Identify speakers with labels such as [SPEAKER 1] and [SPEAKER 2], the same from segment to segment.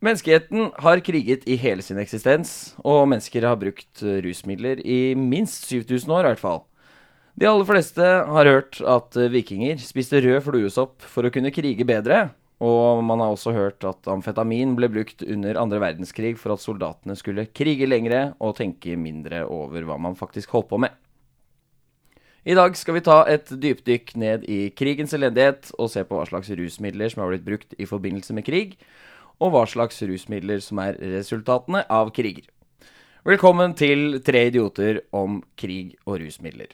[SPEAKER 1] Menneskeheten har kriget i hele sin eksistens, og mennesker har brukt eh, rusmidler i minst 7000 år i hvert fall. De aller fleste har hørt at eh, vikinger spiste rød fluesopp for å kunne krige bedre, og man har også hørt at amfetamin ble brukt under andre verdenskrig for at soldatene skulle krige lengre og tenke mindre over hva man faktisk holdt på med. I dag skal vi ta et dypdykk ned i krigens elendighet og se på hva slags rusmidler som har blitt brukt i forbindelse med krig, og hva slags rusmidler som er resultatene av kriger. Velkommen til Tre idioter om krig og rusmidler.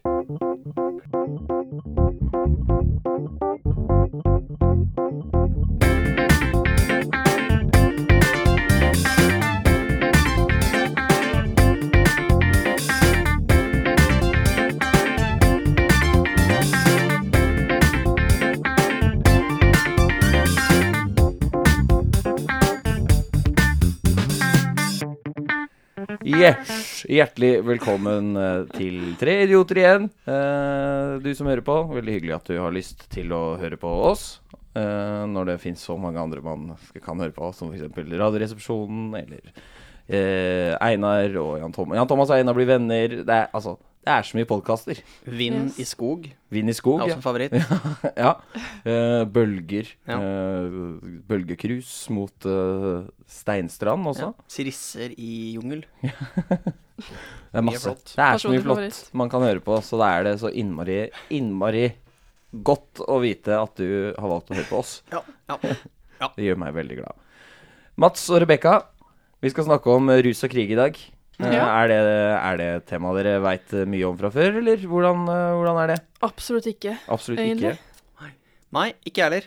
[SPEAKER 1] Yes, hjertelig velkommen eh, til Tre idioter igjen. Eh, Du som hører på, veldig hyggelig at du har lyst til å høre på oss. eh, Når det fins så mange andre man skal- kan høre på, som f.eks. Radioresepsjonen eller eh, Einar og Jan Thomas. Jan Thomas og Einar blir venner. Det er, altså, det er så mye podkaster.
[SPEAKER 2] Vind
[SPEAKER 3] Yes.
[SPEAKER 2] i skog er
[SPEAKER 1] Vind i skog.
[SPEAKER 2] også
[SPEAKER 1] Ja.
[SPEAKER 2] en favoritt.
[SPEAKER 1] ja. Eh, bølger.
[SPEAKER 2] altså. Ja.
[SPEAKER 1] eh, bølgekrus mot eh, Steinstrand også.
[SPEAKER 2] Ja. Sirisser i jungel.
[SPEAKER 1] Det er
[SPEAKER 2] Mye
[SPEAKER 1] masse.
[SPEAKER 2] flott.
[SPEAKER 1] Det er så mye
[SPEAKER 3] Personlig
[SPEAKER 1] flott
[SPEAKER 3] favoritt.
[SPEAKER 1] man kan høre på, så da er det så innmari, innmari godt å vite at du har valgt å høre på oss.
[SPEAKER 2] Ja. ja.
[SPEAKER 1] Det gjør meg veldig glad. Mats og Rebekka, vi skal snakke om eh, rus og krig i dag. Eh,
[SPEAKER 3] Ja.
[SPEAKER 1] Er det, er det et tema dere veit mye om fra før, eller hvordan, eh, hvordan er det?
[SPEAKER 3] Absolutt ikke.
[SPEAKER 1] Absolutt
[SPEAKER 3] Egentlig.
[SPEAKER 2] Nei, ikke jeg heller.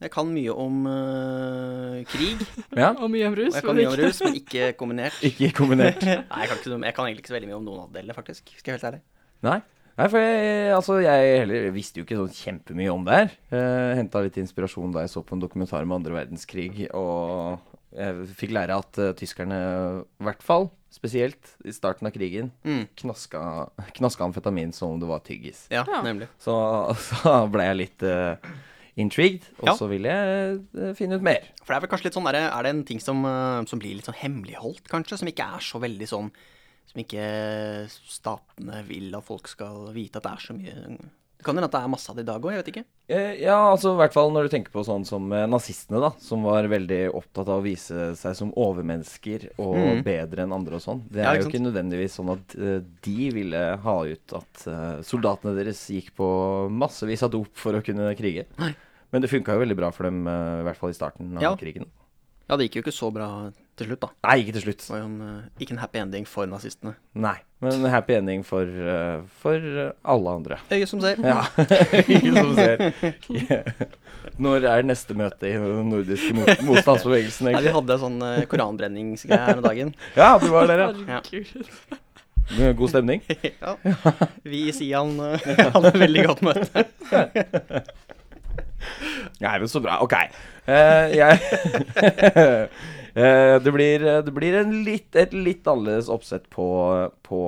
[SPEAKER 2] Jeg kan mye om øh, krig,
[SPEAKER 1] ikke. Ja,
[SPEAKER 3] Og mye om
[SPEAKER 2] og
[SPEAKER 3] rus.
[SPEAKER 2] jeg kan
[SPEAKER 3] men
[SPEAKER 2] mye om
[SPEAKER 3] ikke-
[SPEAKER 2] rus, men ikke kombinert.
[SPEAKER 1] Ikke kombinert.
[SPEAKER 2] Nei, jeg kan, ikke, noe om- jeg kan egentlig ikke så veldig mye om noen av delene, faktisk. Skal jeg være helt ærlig.
[SPEAKER 1] Nei. Nei, for jeg, altså, jeg heller visste jo ikke sånn kjempemye om det her. Eh, Henta litt inspirasjon da jeg så på en dokumentar om andre verdenskrig, og jeg fikk lære at eh, tyskerne, i hvert fall spesielt i starten av krigen,
[SPEAKER 2] Mm.
[SPEAKER 1] knaska, knaska amfetamin som om det var tyggis.
[SPEAKER 2] Ja,
[SPEAKER 3] Ja.
[SPEAKER 2] nemlig.
[SPEAKER 1] Så, så ble jeg litt eh, intrigued, og
[SPEAKER 2] Ja.
[SPEAKER 1] så ville jeg eh, finne ut mer.
[SPEAKER 2] For det er vel kanskje litt sånn derre Er det en ting som, øh, som blir litt sånn hemmeligholdt, kanskje? Som ikke er så veldig sånn Som ikke statene vil at folk skal vite at det er så mye Det kan hende at det er masse av det i dag òg, jeg vet ikke.
[SPEAKER 1] Eh, Ja, altså i hvert fall når du tenker på sånn som eh, nazistene, da. Som var veldig opptatt av å vise seg som overmennesker og
[SPEAKER 2] Mm.
[SPEAKER 1] bedre enn andre og sånn. Det
[SPEAKER 2] Ja,
[SPEAKER 1] er
[SPEAKER 2] ikke
[SPEAKER 1] jo ikke nødvendigvis sånn at eh, de ville ha ut at eh, soldatene deres gikk på massevis av dop for å kunne krige.
[SPEAKER 2] Nei.
[SPEAKER 1] Men det funka jo veldig bra for dem, eh, i hvert fall i starten av
[SPEAKER 2] Ja.
[SPEAKER 1] krigen.
[SPEAKER 2] Ja, det gikk jo ikke så bra til slutt, da.
[SPEAKER 1] Nei, ikke til slutt.
[SPEAKER 2] Det var jo en, øh, ikke en happy ending for nazistene.
[SPEAKER 1] Nei. Men happy ending for, eh, for eh, alle andre.
[SPEAKER 2] Øyet som ser.
[SPEAKER 1] Ja. Ikke som ser. Når er neste møte i den nordiske mot motstandsbevegelsen,
[SPEAKER 2] Nei,
[SPEAKER 1] egentlig?
[SPEAKER 2] vi hadde sånn eh, koranbrenningsgreie her om dagen.
[SPEAKER 1] Ja, det var dere.
[SPEAKER 3] Herregud.
[SPEAKER 1] God stemning.
[SPEAKER 2] ja. Vi i Sian eh, hadde et veldig godt møte.
[SPEAKER 1] Nei, men så bra. Ok. Eh, jeg Eh, det, blir, det blir en litt, et litt annerledes oppsett på, på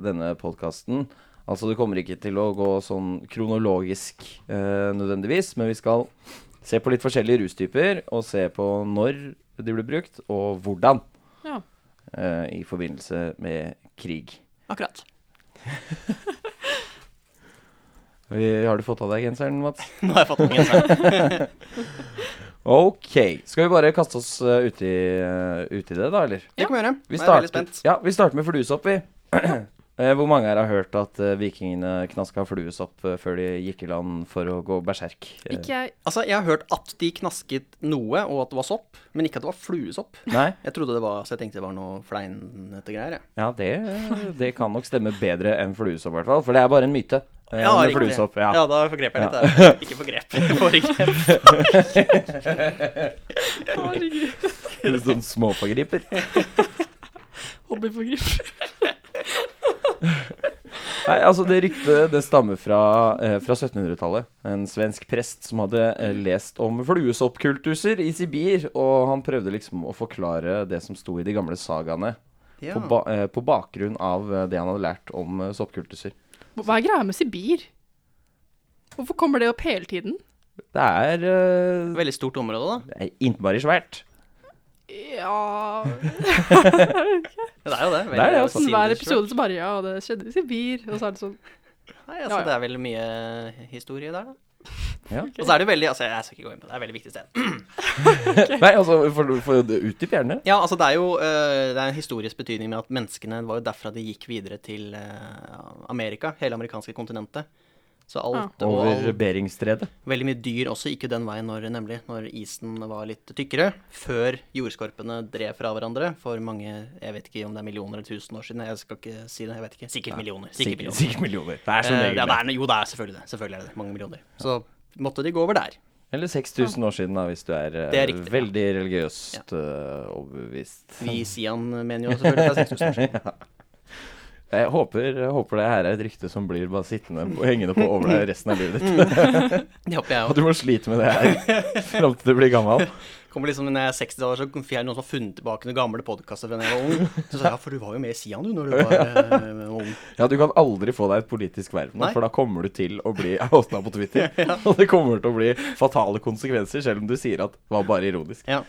[SPEAKER 1] denne podkasten. Altså, det kommer ikke til å gå sånn kronologisk eh, nødvendigvis, men vi skal se på litt forskjellige rustyper, og se på når de ble brukt, og hvordan,
[SPEAKER 3] Ja,
[SPEAKER 1] eh, i forbindelse med krig.
[SPEAKER 3] akkurat.
[SPEAKER 1] Vi- Har du fått av deg genseren, Mats?
[SPEAKER 2] Nå har jeg fått ingen svar.
[SPEAKER 1] Ok. Skal vi bare kaste oss eh, uti eh, uti det, da, eller?
[SPEAKER 2] Det kan vi gjøre.
[SPEAKER 1] Vi
[SPEAKER 2] Nå er jeg
[SPEAKER 1] starter,
[SPEAKER 2] veldig spent.
[SPEAKER 1] ja, vi starter med fluesopp, vi. Eh, Hvor mange her har hørt at eh, vikingene knaska fluesopp eh, før de gikk i land for å gå berserk? Eh,
[SPEAKER 3] Ikke jeg.
[SPEAKER 2] Altså, jeg har hørt at de knasket noe, og at det var sopp, men ikke at det var fluesopp.
[SPEAKER 1] Nei?
[SPEAKER 2] Jeg trodde det var, så jeg tenkte det var noe fleinete greier, jeg.
[SPEAKER 1] Ja, det, eh, det kan nok stemme bedre enn fluesopp, i hvert fall. For det er bare en myte. eh, med
[SPEAKER 2] riktig.
[SPEAKER 1] fluesopp, ja.
[SPEAKER 2] ja, da forgrep jeg litt der. Ikke forgrep, foregrep.
[SPEAKER 3] Herregud.
[SPEAKER 1] Litt Sånn småforgriper.
[SPEAKER 3] Hobbyforgriper.
[SPEAKER 1] Nei, altså Det ryktet det stammer fra, eh, fra 1700-tallet. En svensk prest som hadde eh, lest om fluesoppkultuser i Sibir. Og han prøvde liksom å forklare det som sto i de gamle sagaene,
[SPEAKER 2] Ja.
[SPEAKER 1] på, ba eh, på bakgrunn av eh, det han hadde lært om eh, soppkultuser.
[SPEAKER 3] Hva er greia med Sibir? Hvorfor kommer det opp hele tiden?
[SPEAKER 1] Det er eh,
[SPEAKER 2] Veldig stort område, da.
[SPEAKER 1] det er innmari svært.
[SPEAKER 3] Ja
[SPEAKER 2] Det er jo det. veldig
[SPEAKER 1] Det er det, altså.
[SPEAKER 3] Sånn hver
[SPEAKER 2] sidestyrt.
[SPEAKER 3] episode så bare Ja, det skjedde i Sibir. Og så er det sånn
[SPEAKER 2] Nei, altså,
[SPEAKER 3] Ja, ja.
[SPEAKER 2] Det er vel mye historie der, da.
[SPEAKER 1] Ja.
[SPEAKER 2] Og så er det jo veldig altså, Jeg skal ikke gå inn på det, det er et veldig viktig sted.
[SPEAKER 1] Nei, altså, for, for utdyp gjerne.
[SPEAKER 2] Ja, altså Det er jo eh, det er en historisk betydning med at menneskene det var jo derfra de gikk videre til eh, Amerika, hele amerikanske kontinentet. Så alt og all,
[SPEAKER 1] Over Beringstredet.
[SPEAKER 2] Veldig mye dyr også gikk jo den veien når, nemlig, når isen var litt tykkere. Før jordskorpene drev fra hverandre for mange Jeg vet ikke om det er millioner eller tusen år siden. Jeg skal ikke si det. jeg vet ikke. Sikkert millioner. Sikkert
[SPEAKER 1] Sikkert,
[SPEAKER 2] millioner.
[SPEAKER 1] sikkert millioner. Det er som
[SPEAKER 2] Eh, ja, det
[SPEAKER 1] regel det.
[SPEAKER 2] er, jo, det er selvfølgelig det. Selvfølgelig er det det. Mange millioner. Så måtte de gå over der.
[SPEAKER 1] Eller 6000 år siden, da, hvis du er, eh,
[SPEAKER 2] Det er riktig, ja.
[SPEAKER 1] veldig religiøst eh, overbevist.
[SPEAKER 2] Vi i Sian mener jo selvfølgelig at det er 6000 år siden.
[SPEAKER 1] Jeg håper, jeg håper det her er et rykte som blir bare sittende på, hengende på over deg resten av livet
[SPEAKER 2] Mm.
[SPEAKER 1] ditt.
[SPEAKER 2] Det håper jeg
[SPEAKER 1] Og
[SPEAKER 2] òg.
[SPEAKER 1] du må slite med det her fram til du blir gammel.
[SPEAKER 2] Kommer liksom når jeg er 60 år, så er det noen som har funnet tilbake noen gamle podkaster fra da jeg var ung. Så sa jeg ja, for du var jo med i Sian du når du var eh, ung.
[SPEAKER 1] Ja, Du kan aldri få deg et politisk verv nå,
[SPEAKER 2] Nei.
[SPEAKER 1] for da kommer du til å bli outa på Twitter. Og det kommer til å bli fatale konsekvenser, selv om du sier at det var bare ironisk.
[SPEAKER 2] Ja,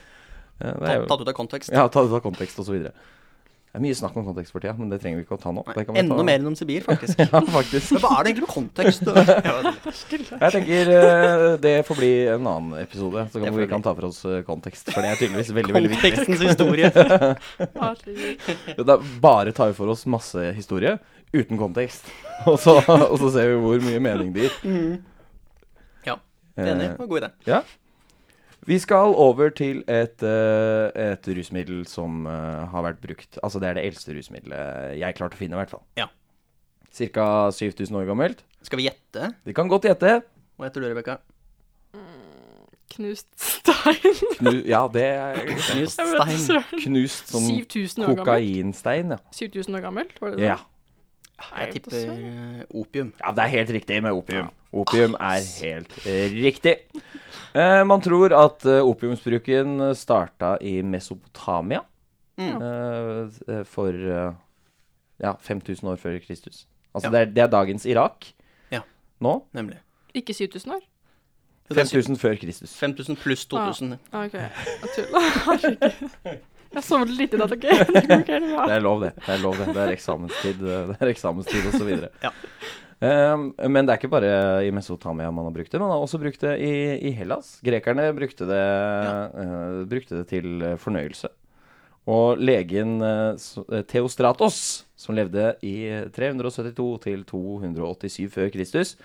[SPEAKER 1] Ja, det er
[SPEAKER 2] Tatt
[SPEAKER 1] jo-
[SPEAKER 2] tatt ut av kontekst.
[SPEAKER 1] Ja, ta, ta kontekst og så videre. Det er mye snakk om kontekst for tida, men det trenger vi ikke å ta nå. Det kan vi
[SPEAKER 2] Enda
[SPEAKER 1] ta.
[SPEAKER 2] mer enn om Sibir, faktisk.
[SPEAKER 1] Ja, faktisk.
[SPEAKER 2] Men hva er det egentlig med kontekst? Ja,
[SPEAKER 1] Jeg tenker eh, det får bli en annen episode, så
[SPEAKER 2] Det
[SPEAKER 1] kan
[SPEAKER 2] får
[SPEAKER 1] vi
[SPEAKER 2] bli.
[SPEAKER 1] kan ta for oss eh, kontekst. For det er tydeligvis veldig, veldig viktig.
[SPEAKER 2] Kontekstens historie.
[SPEAKER 3] herregud.
[SPEAKER 1] Da bare tar vi for oss masse historie uten kontekst, og så, og så ser vi hvor mye mening det gir.
[SPEAKER 2] Ja, enig.
[SPEAKER 1] Eh.
[SPEAKER 2] Det var en god idé.
[SPEAKER 1] Ja. Vi skal over til et, eh, et rusmiddel som eh, har vært brukt. Altså det er det eldste rusmiddelet jeg klarte å finne, i hvert fall.
[SPEAKER 2] Ja.
[SPEAKER 1] Ca. 7000 år gammelt.
[SPEAKER 2] Skal vi gjette?
[SPEAKER 1] Vi kan godt gjette.
[SPEAKER 2] Hva heter du, Rebekka?
[SPEAKER 3] Knust stein.
[SPEAKER 1] Knu, ja, det er
[SPEAKER 2] Knust
[SPEAKER 3] Jeg vet
[SPEAKER 2] stein.
[SPEAKER 3] søren.
[SPEAKER 1] knust sånn
[SPEAKER 3] 7000 år gammel.
[SPEAKER 1] kokainstein. Ja.
[SPEAKER 3] 7000 år gammelt, var det det?
[SPEAKER 1] ja.
[SPEAKER 3] Nei,
[SPEAKER 2] Jeg tipper eh, opium.
[SPEAKER 1] ja, det er helt riktig med opium. Opium er helt eh, riktig. Eh, man tror at eh, opiumsbruken starta i Mesopotamia
[SPEAKER 2] Mm.
[SPEAKER 1] eh, eh, for eh, ja, 5000 år før Kristus. Altså
[SPEAKER 2] Ja.
[SPEAKER 1] det, er, det er dagens Irak
[SPEAKER 2] Ja.
[SPEAKER 1] nå.
[SPEAKER 2] Nemlig.
[SPEAKER 3] Ikke 7000 år?
[SPEAKER 2] Jo, det er
[SPEAKER 1] 5000 før Kristus.
[SPEAKER 2] 5000 pluss 2000.
[SPEAKER 3] Ah, ok, jeg tuller. Herregud. Jeg sover litt i natt, OK? Det går ikke helt bra.
[SPEAKER 1] Det er lov, det. Det er lov det. Det er eksamenstid, det er eksamenstid osv.
[SPEAKER 2] Ja.
[SPEAKER 1] Um, men det er ikke bare i Mesotamia man har brukt det. Man har også brukt det i, i Hellas. Grekerne brukte det, eh, brukte det til eh, fornøyelse. Og legen eh, s- eh, Theostratos, som levde i 372 til 287 før Kristus,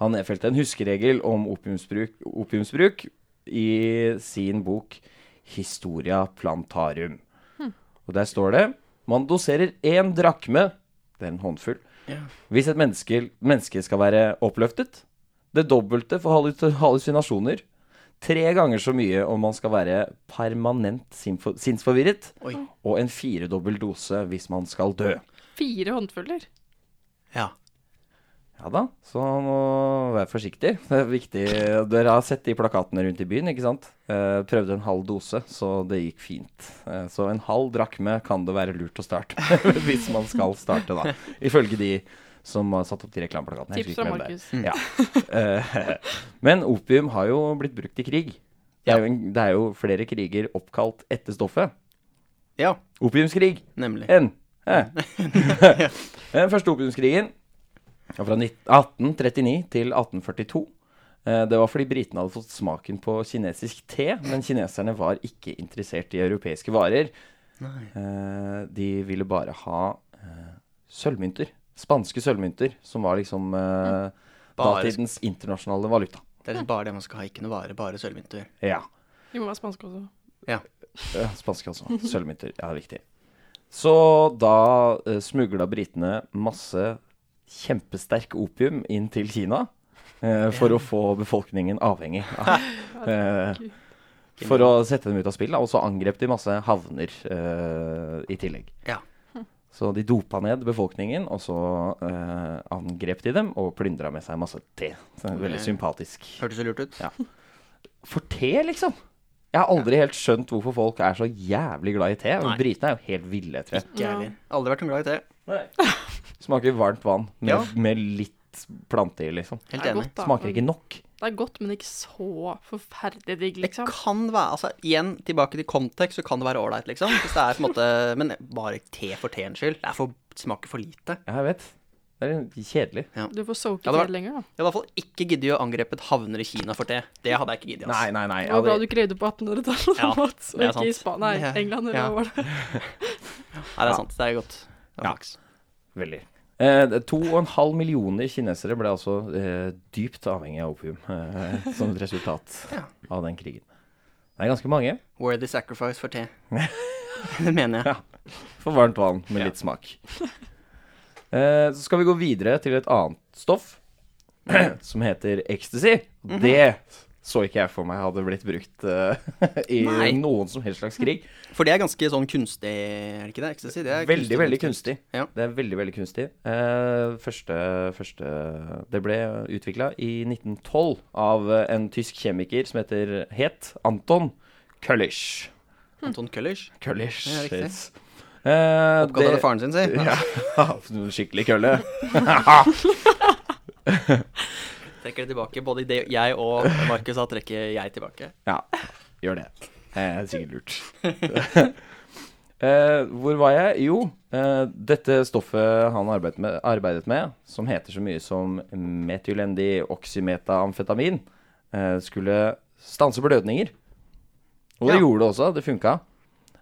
[SPEAKER 1] han nedfelte en huskeregel om opiumsbruk, opiumsbruk i sin bok Historia plantarum. Og der står det Man doserer én drakme Det er en håndfull.
[SPEAKER 2] Ja.
[SPEAKER 1] Hvis et menneske, menneske skal være oppløftet. Det dobbelte for hallu- hallusinasjoner. Tre ganger så mye om man skal være permanent sinfo- sinnsforvirret.
[SPEAKER 2] Oi.
[SPEAKER 1] Og en firedobbel dose hvis man skal dø.
[SPEAKER 3] Fire håndfuller.
[SPEAKER 2] Ja.
[SPEAKER 1] Ja da, så nå vær forsiktig. Det er viktig. Dere har sett de plakatene rundt i byen, ikke sant? Eh, prøvde en halv dose, så det gikk fint. Eh, så en halv drakme kan det være lurt å starte med, hvis man skal starte, da. Ifølge de som har satt opp de reklameplakatene. Jeg
[SPEAKER 3] Tips
[SPEAKER 1] husker
[SPEAKER 3] fra
[SPEAKER 1] ikke hvem det er.
[SPEAKER 3] Markus.
[SPEAKER 1] Ja. Eh, Men opium har jo blitt brukt i krig. Det er jo, en, det er jo flere kriger oppkalt etter stoffet.
[SPEAKER 2] ja,
[SPEAKER 1] Opiumskrig.
[SPEAKER 2] nemlig.
[SPEAKER 1] En. Eh. Den første opiumskrigen var fra 19 1839 til 1842. Eh, Det var fordi britene hadde fått smaken på kinesisk te, men kineserne var ikke interessert i europeiske varer. Eh, De ville bare ha eh, sølvmynter. Spanske sølvmynter, som var liksom eh,
[SPEAKER 2] Bare-
[SPEAKER 1] datidens internasjonale valuta.
[SPEAKER 2] Det er bare det man skal ha, ikke noe vare, bare sølvmynter.
[SPEAKER 1] Ja.
[SPEAKER 3] Vi må være spanske også.
[SPEAKER 2] Ja.
[SPEAKER 1] Ja, Spanske, altså. Sølvmynter. Ja, det er viktig. Så da uh, smugla britene masse kjempesterk opium inn til Kina eh, for å få befolkningen avhengig. av- eh, for å sette dem ut av spill, da, og så angrep de masse havner eh, i tillegg.
[SPEAKER 2] Ja.
[SPEAKER 1] Så de dopa ned befolkningen, og så eh, angrep de dem og plyndra med seg masse te. Så det er veldig sympatisk.
[SPEAKER 2] Hørtes det lurt ut?
[SPEAKER 1] Ja. For te, liksom. Jeg har aldri helt skjønt hvorfor folk er så jævlig glad i te. og
[SPEAKER 2] Nei.
[SPEAKER 1] Britene er jo helt ville, tror jeg.
[SPEAKER 2] Ikke jeg heller. Aldri vært noe glad i te.
[SPEAKER 1] Smaker varmt vann med,
[SPEAKER 2] Ja.
[SPEAKER 1] med litt plante i, liksom.
[SPEAKER 2] Helt enig.
[SPEAKER 3] da.
[SPEAKER 1] Smaker ikke nok.
[SPEAKER 3] Det er godt, men ikke så forferdelig digg,
[SPEAKER 2] Det
[SPEAKER 3] liksom.
[SPEAKER 2] kan være altså Igjen, tilbake til kontekst, så kan det være ålreit, liksom. Hvis det er på en måte Men bare te for teens skyld. Det er for, smaker for lite.
[SPEAKER 1] Ja, jeg vet. Det er kjedelig.
[SPEAKER 3] Du får soake
[SPEAKER 2] Ja,
[SPEAKER 3] ja,
[SPEAKER 2] det var-
[SPEAKER 3] til lenger, da.
[SPEAKER 2] Jeg har i hvert fall ikke giddet å angrepe et havner i Kina for te. Det hadde jeg ikke giddet.
[SPEAKER 1] Nei, nei, nei.
[SPEAKER 3] Det
[SPEAKER 1] Ja,
[SPEAKER 3] var bra du
[SPEAKER 1] det,
[SPEAKER 3] ikke levde på 1800-tallet,
[SPEAKER 2] Ja,
[SPEAKER 3] og
[SPEAKER 2] det er
[SPEAKER 3] ikke i
[SPEAKER 2] sant.
[SPEAKER 3] Spa... Nei,
[SPEAKER 2] Det-
[SPEAKER 3] England, eller
[SPEAKER 2] ja.
[SPEAKER 3] hva var det?
[SPEAKER 2] Nei, det er sant. Det er godt. Det er
[SPEAKER 1] Ja.
[SPEAKER 2] flaks.
[SPEAKER 1] veldig. Eh, det- to og en halv millioner kinesere ble altså eh, dypt avhengig av opium eh, som et resultat
[SPEAKER 2] Ja.
[SPEAKER 1] av den krigen. Det er ganske mange.
[SPEAKER 2] Worthy sacrifice for te. det mener jeg.
[SPEAKER 1] For varmt vann med
[SPEAKER 2] Ja.
[SPEAKER 1] litt smak. Eh, så skal vi gå videre til et annet stoff som heter ecstasy.
[SPEAKER 2] Mhm.
[SPEAKER 1] Det så ikke jeg for meg hadde blitt brukt eh, i
[SPEAKER 2] Nei.
[SPEAKER 1] noen som helst slags krig.
[SPEAKER 2] For det er ganske sånn kunstig, er det ikke det? Ecstasy? Det er
[SPEAKER 1] Veldig, veldig kunstig.
[SPEAKER 2] Ja.
[SPEAKER 1] Det er veldig, veldig kunstig. Eh, første, første Det ble utvikla i 1912 av eh, en tysk kjemiker som heter het Anton Köllisch.
[SPEAKER 2] Anton Køllers.
[SPEAKER 1] Köllisch.
[SPEAKER 2] Ja, riktig.
[SPEAKER 1] yes. Eh,
[SPEAKER 2] Oppkalt
[SPEAKER 1] det-
[SPEAKER 2] etter faren sin, si.
[SPEAKER 1] Ja, skikkelig kølle.
[SPEAKER 2] Trekker det tilbake. Både det jeg og Markus har trekker jeg tilbake.
[SPEAKER 1] Ja, gjør det. Det er sikkert lurt. Eh, hvor var jeg? Jo, eh, dette stoffet han arbeidet med, arbeidet med, som heter så mye som metylendioksymetamfetamin, eh, skulle stanse blødninger. Og det
[SPEAKER 2] Ja.
[SPEAKER 1] gjorde det også. Det funka.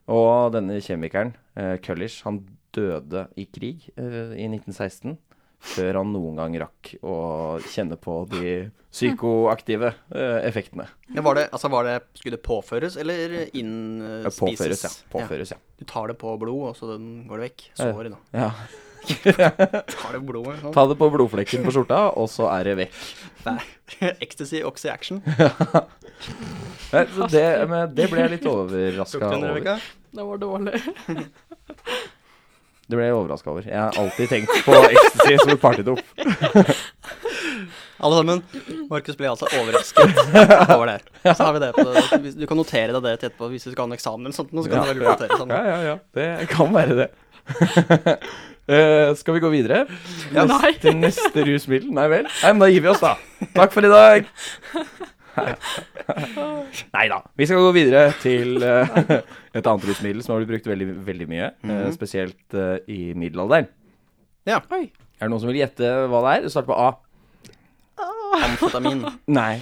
[SPEAKER 1] Og denne kjemikeren, eh, Cullish, han døde i krig eh, i 1916. Før han noen gang rakk å kjenne på de psykoaktive eh, effektene.
[SPEAKER 2] Ja, var det, altså var det, Skulle det påføres eller
[SPEAKER 1] Ja,
[SPEAKER 2] innspises?
[SPEAKER 1] Påføres, ja. Påføres, ja.
[SPEAKER 2] Du tar det på blod, og så den går det vekk. Såret, da.
[SPEAKER 1] ja.
[SPEAKER 2] Tar det på blodet. sånn.
[SPEAKER 1] Ta det på blodflekken på skjorta, og så er det vekk.
[SPEAKER 2] Nei. Ecstasy, oxy action.
[SPEAKER 1] Nei, så Det, men det ble jeg litt
[SPEAKER 2] Tok
[SPEAKER 1] overraska
[SPEAKER 2] du den,
[SPEAKER 1] over.
[SPEAKER 2] Rebekka?
[SPEAKER 3] Det var dårlig.
[SPEAKER 1] Det ble jeg overrasket over. Jeg har alltid tenkt på ecstasy som et partydop.
[SPEAKER 2] Alle sammen. Markus ble altså overrasket over det. Så har vi det på det. Du kan notere deg det til etterpå hvis du skal ha en eksamen eller sånt. nå, Så kan
[SPEAKER 1] Ja,
[SPEAKER 2] du vel notere
[SPEAKER 1] Ja,
[SPEAKER 2] sånn.
[SPEAKER 1] ja, ja. Det kan være det. Eh, skal vi gå videre?
[SPEAKER 3] Ja, nei.
[SPEAKER 1] Neste, neste rusmiddel? Nei vel? Nei, men da gir vi oss, da. Takk for i dag. Nei da. Vi skal gå videre til eh, et annet rusmiddel som har blitt brukt veldig, veldig mye, eh, spesielt eh, i middelalderen.
[SPEAKER 3] Oi.
[SPEAKER 1] Er det noen som vil gjette hva det er? Det starter på A.
[SPEAKER 2] Amfetamin.
[SPEAKER 1] Nei.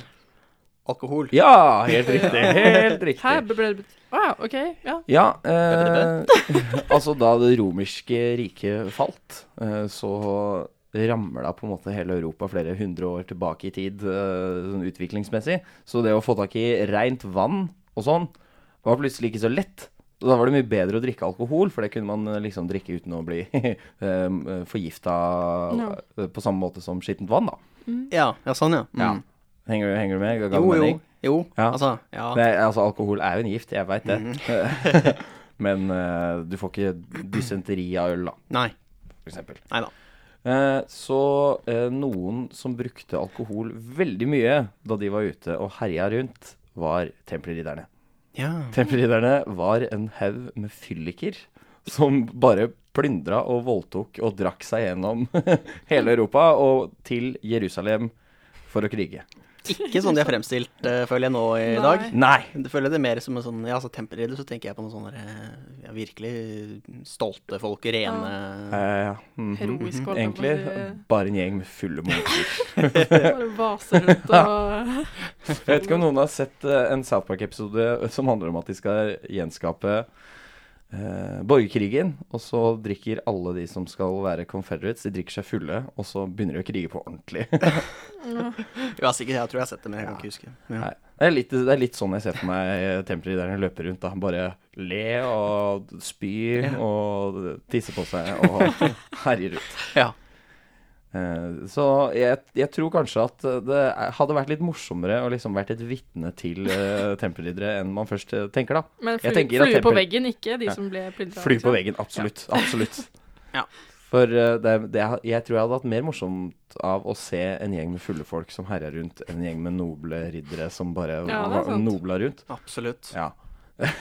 [SPEAKER 2] Alkohol.
[SPEAKER 1] Ja, helt riktig. Helt
[SPEAKER 3] Hæ,
[SPEAKER 1] riktig.
[SPEAKER 3] ble det bet- Å ja, OK. Ja.
[SPEAKER 1] Ja, eh, altså da det romerske riket falt, eh, så ramla på en måte hele Europa flere hundre år tilbake i tid eh, sånn utviklingsmessig. Så det å få tak i rent vann og sånn var plutselig ikke så lett. Og da var det mye bedre å drikke alkohol, for det kunne man eh, liksom drikke uten å bli forgifta
[SPEAKER 3] Ja.
[SPEAKER 1] på samme måte som skittent vann, da.
[SPEAKER 2] Ja, ja sånn, ja.
[SPEAKER 1] Ja.
[SPEAKER 2] Mm.
[SPEAKER 1] Henger, henger du med? Ga- ga
[SPEAKER 2] Jo,
[SPEAKER 1] det
[SPEAKER 2] jo.
[SPEAKER 1] mening?
[SPEAKER 2] Jo,
[SPEAKER 1] Ja.
[SPEAKER 2] altså. Ja.
[SPEAKER 1] Det, er- altså, alkohol er jo en gift, jeg veit det.
[SPEAKER 3] Mhm.
[SPEAKER 1] Men eh, du får ikke dysenteri av øl, da,
[SPEAKER 2] Nei.
[SPEAKER 1] for eksempel.
[SPEAKER 2] Nei da.
[SPEAKER 1] Eh, så eh, noen som brukte alkohol veldig mye da de var ute og herja rundt, var tempelridderne.
[SPEAKER 2] Ja.
[SPEAKER 1] Tempelridderne var en haug med fylliker som bare plyndra og voldtok og drakk seg gjennom hele Europa og til Jerusalem for å krige.
[SPEAKER 2] Ikke sånn de er fremstilt, eh, føler jeg nå i
[SPEAKER 3] Nei.
[SPEAKER 2] dag.
[SPEAKER 1] Nei!
[SPEAKER 2] Du føler det mer som en sånn Ja, altså temperridder, så tenker jeg på noen sånne eh, ja, virkelig stolte folk, rene
[SPEAKER 1] Eh, mhm,
[SPEAKER 3] Heroisk,
[SPEAKER 1] mhm.
[SPEAKER 3] holdt jeg på å
[SPEAKER 1] Egentlig
[SPEAKER 3] si.
[SPEAKER 1] bare en gjeng med fulle munker.
[SPEAKER 3] Bare vaser rundt og
[SPEAKER 1] Jeg vet ikke om noen har sett eh, en South Park-episode som handler om at de skal gjenskape eh, borgerkrigen, og så drikker alle de som skal være confederates, de drikker seg fulle, og så begynner de å krige på ordentlig.
[SPEAKER 2] Jo, jeg, er sikker, jeg tror jeg har sett det, men jeg kan ikke huske. Ja.
[SPEAKER 1] Nei, det, er litt, det er litt sånn jeg ser for meg eh, Tempery der han løper rundt. da Bare le og spy og tisse på seg og herje rundt.
[SPEAKER 2] Ja.
[SPEAKER 1] Eh, Så jeg, jeg tror kanskje at det er- hadde vært litt morsommere å liksom vært et vitne til uh, tempelriddere enn man først eh, tenker, da.
[SPEAKER 3] Men fly,
[SPEAKER 1] Jeg tenker at
[SPEAKER 3] flue på
[SPEAKER 1] tempel-
[SPEAKER 3] veggen, liksom. ikke de
[SPEAKER 1] Ja.
[SPEAKER 3] som ble plyndra.
[SPEAKER 1] Fly på veggen, absolutt. Absolutt.
[SPEAKER 2] Ja.
[SPEAKER 1] For eh, det, er- det, er- jeg tror jeg hadde hatt mer morsomt av å se en gjeng med fulle folk som herja rundt, enn en gjeng med noble riddere som bare
[SPEAKER 3] Ja, det er
[SPEAKER 1] var-
[SPEAKER 3] sant.
[SPEAKER 1] nobla rundt.
[SPEAKER 2] Absolutt.
[SPEAKER 1] Ja.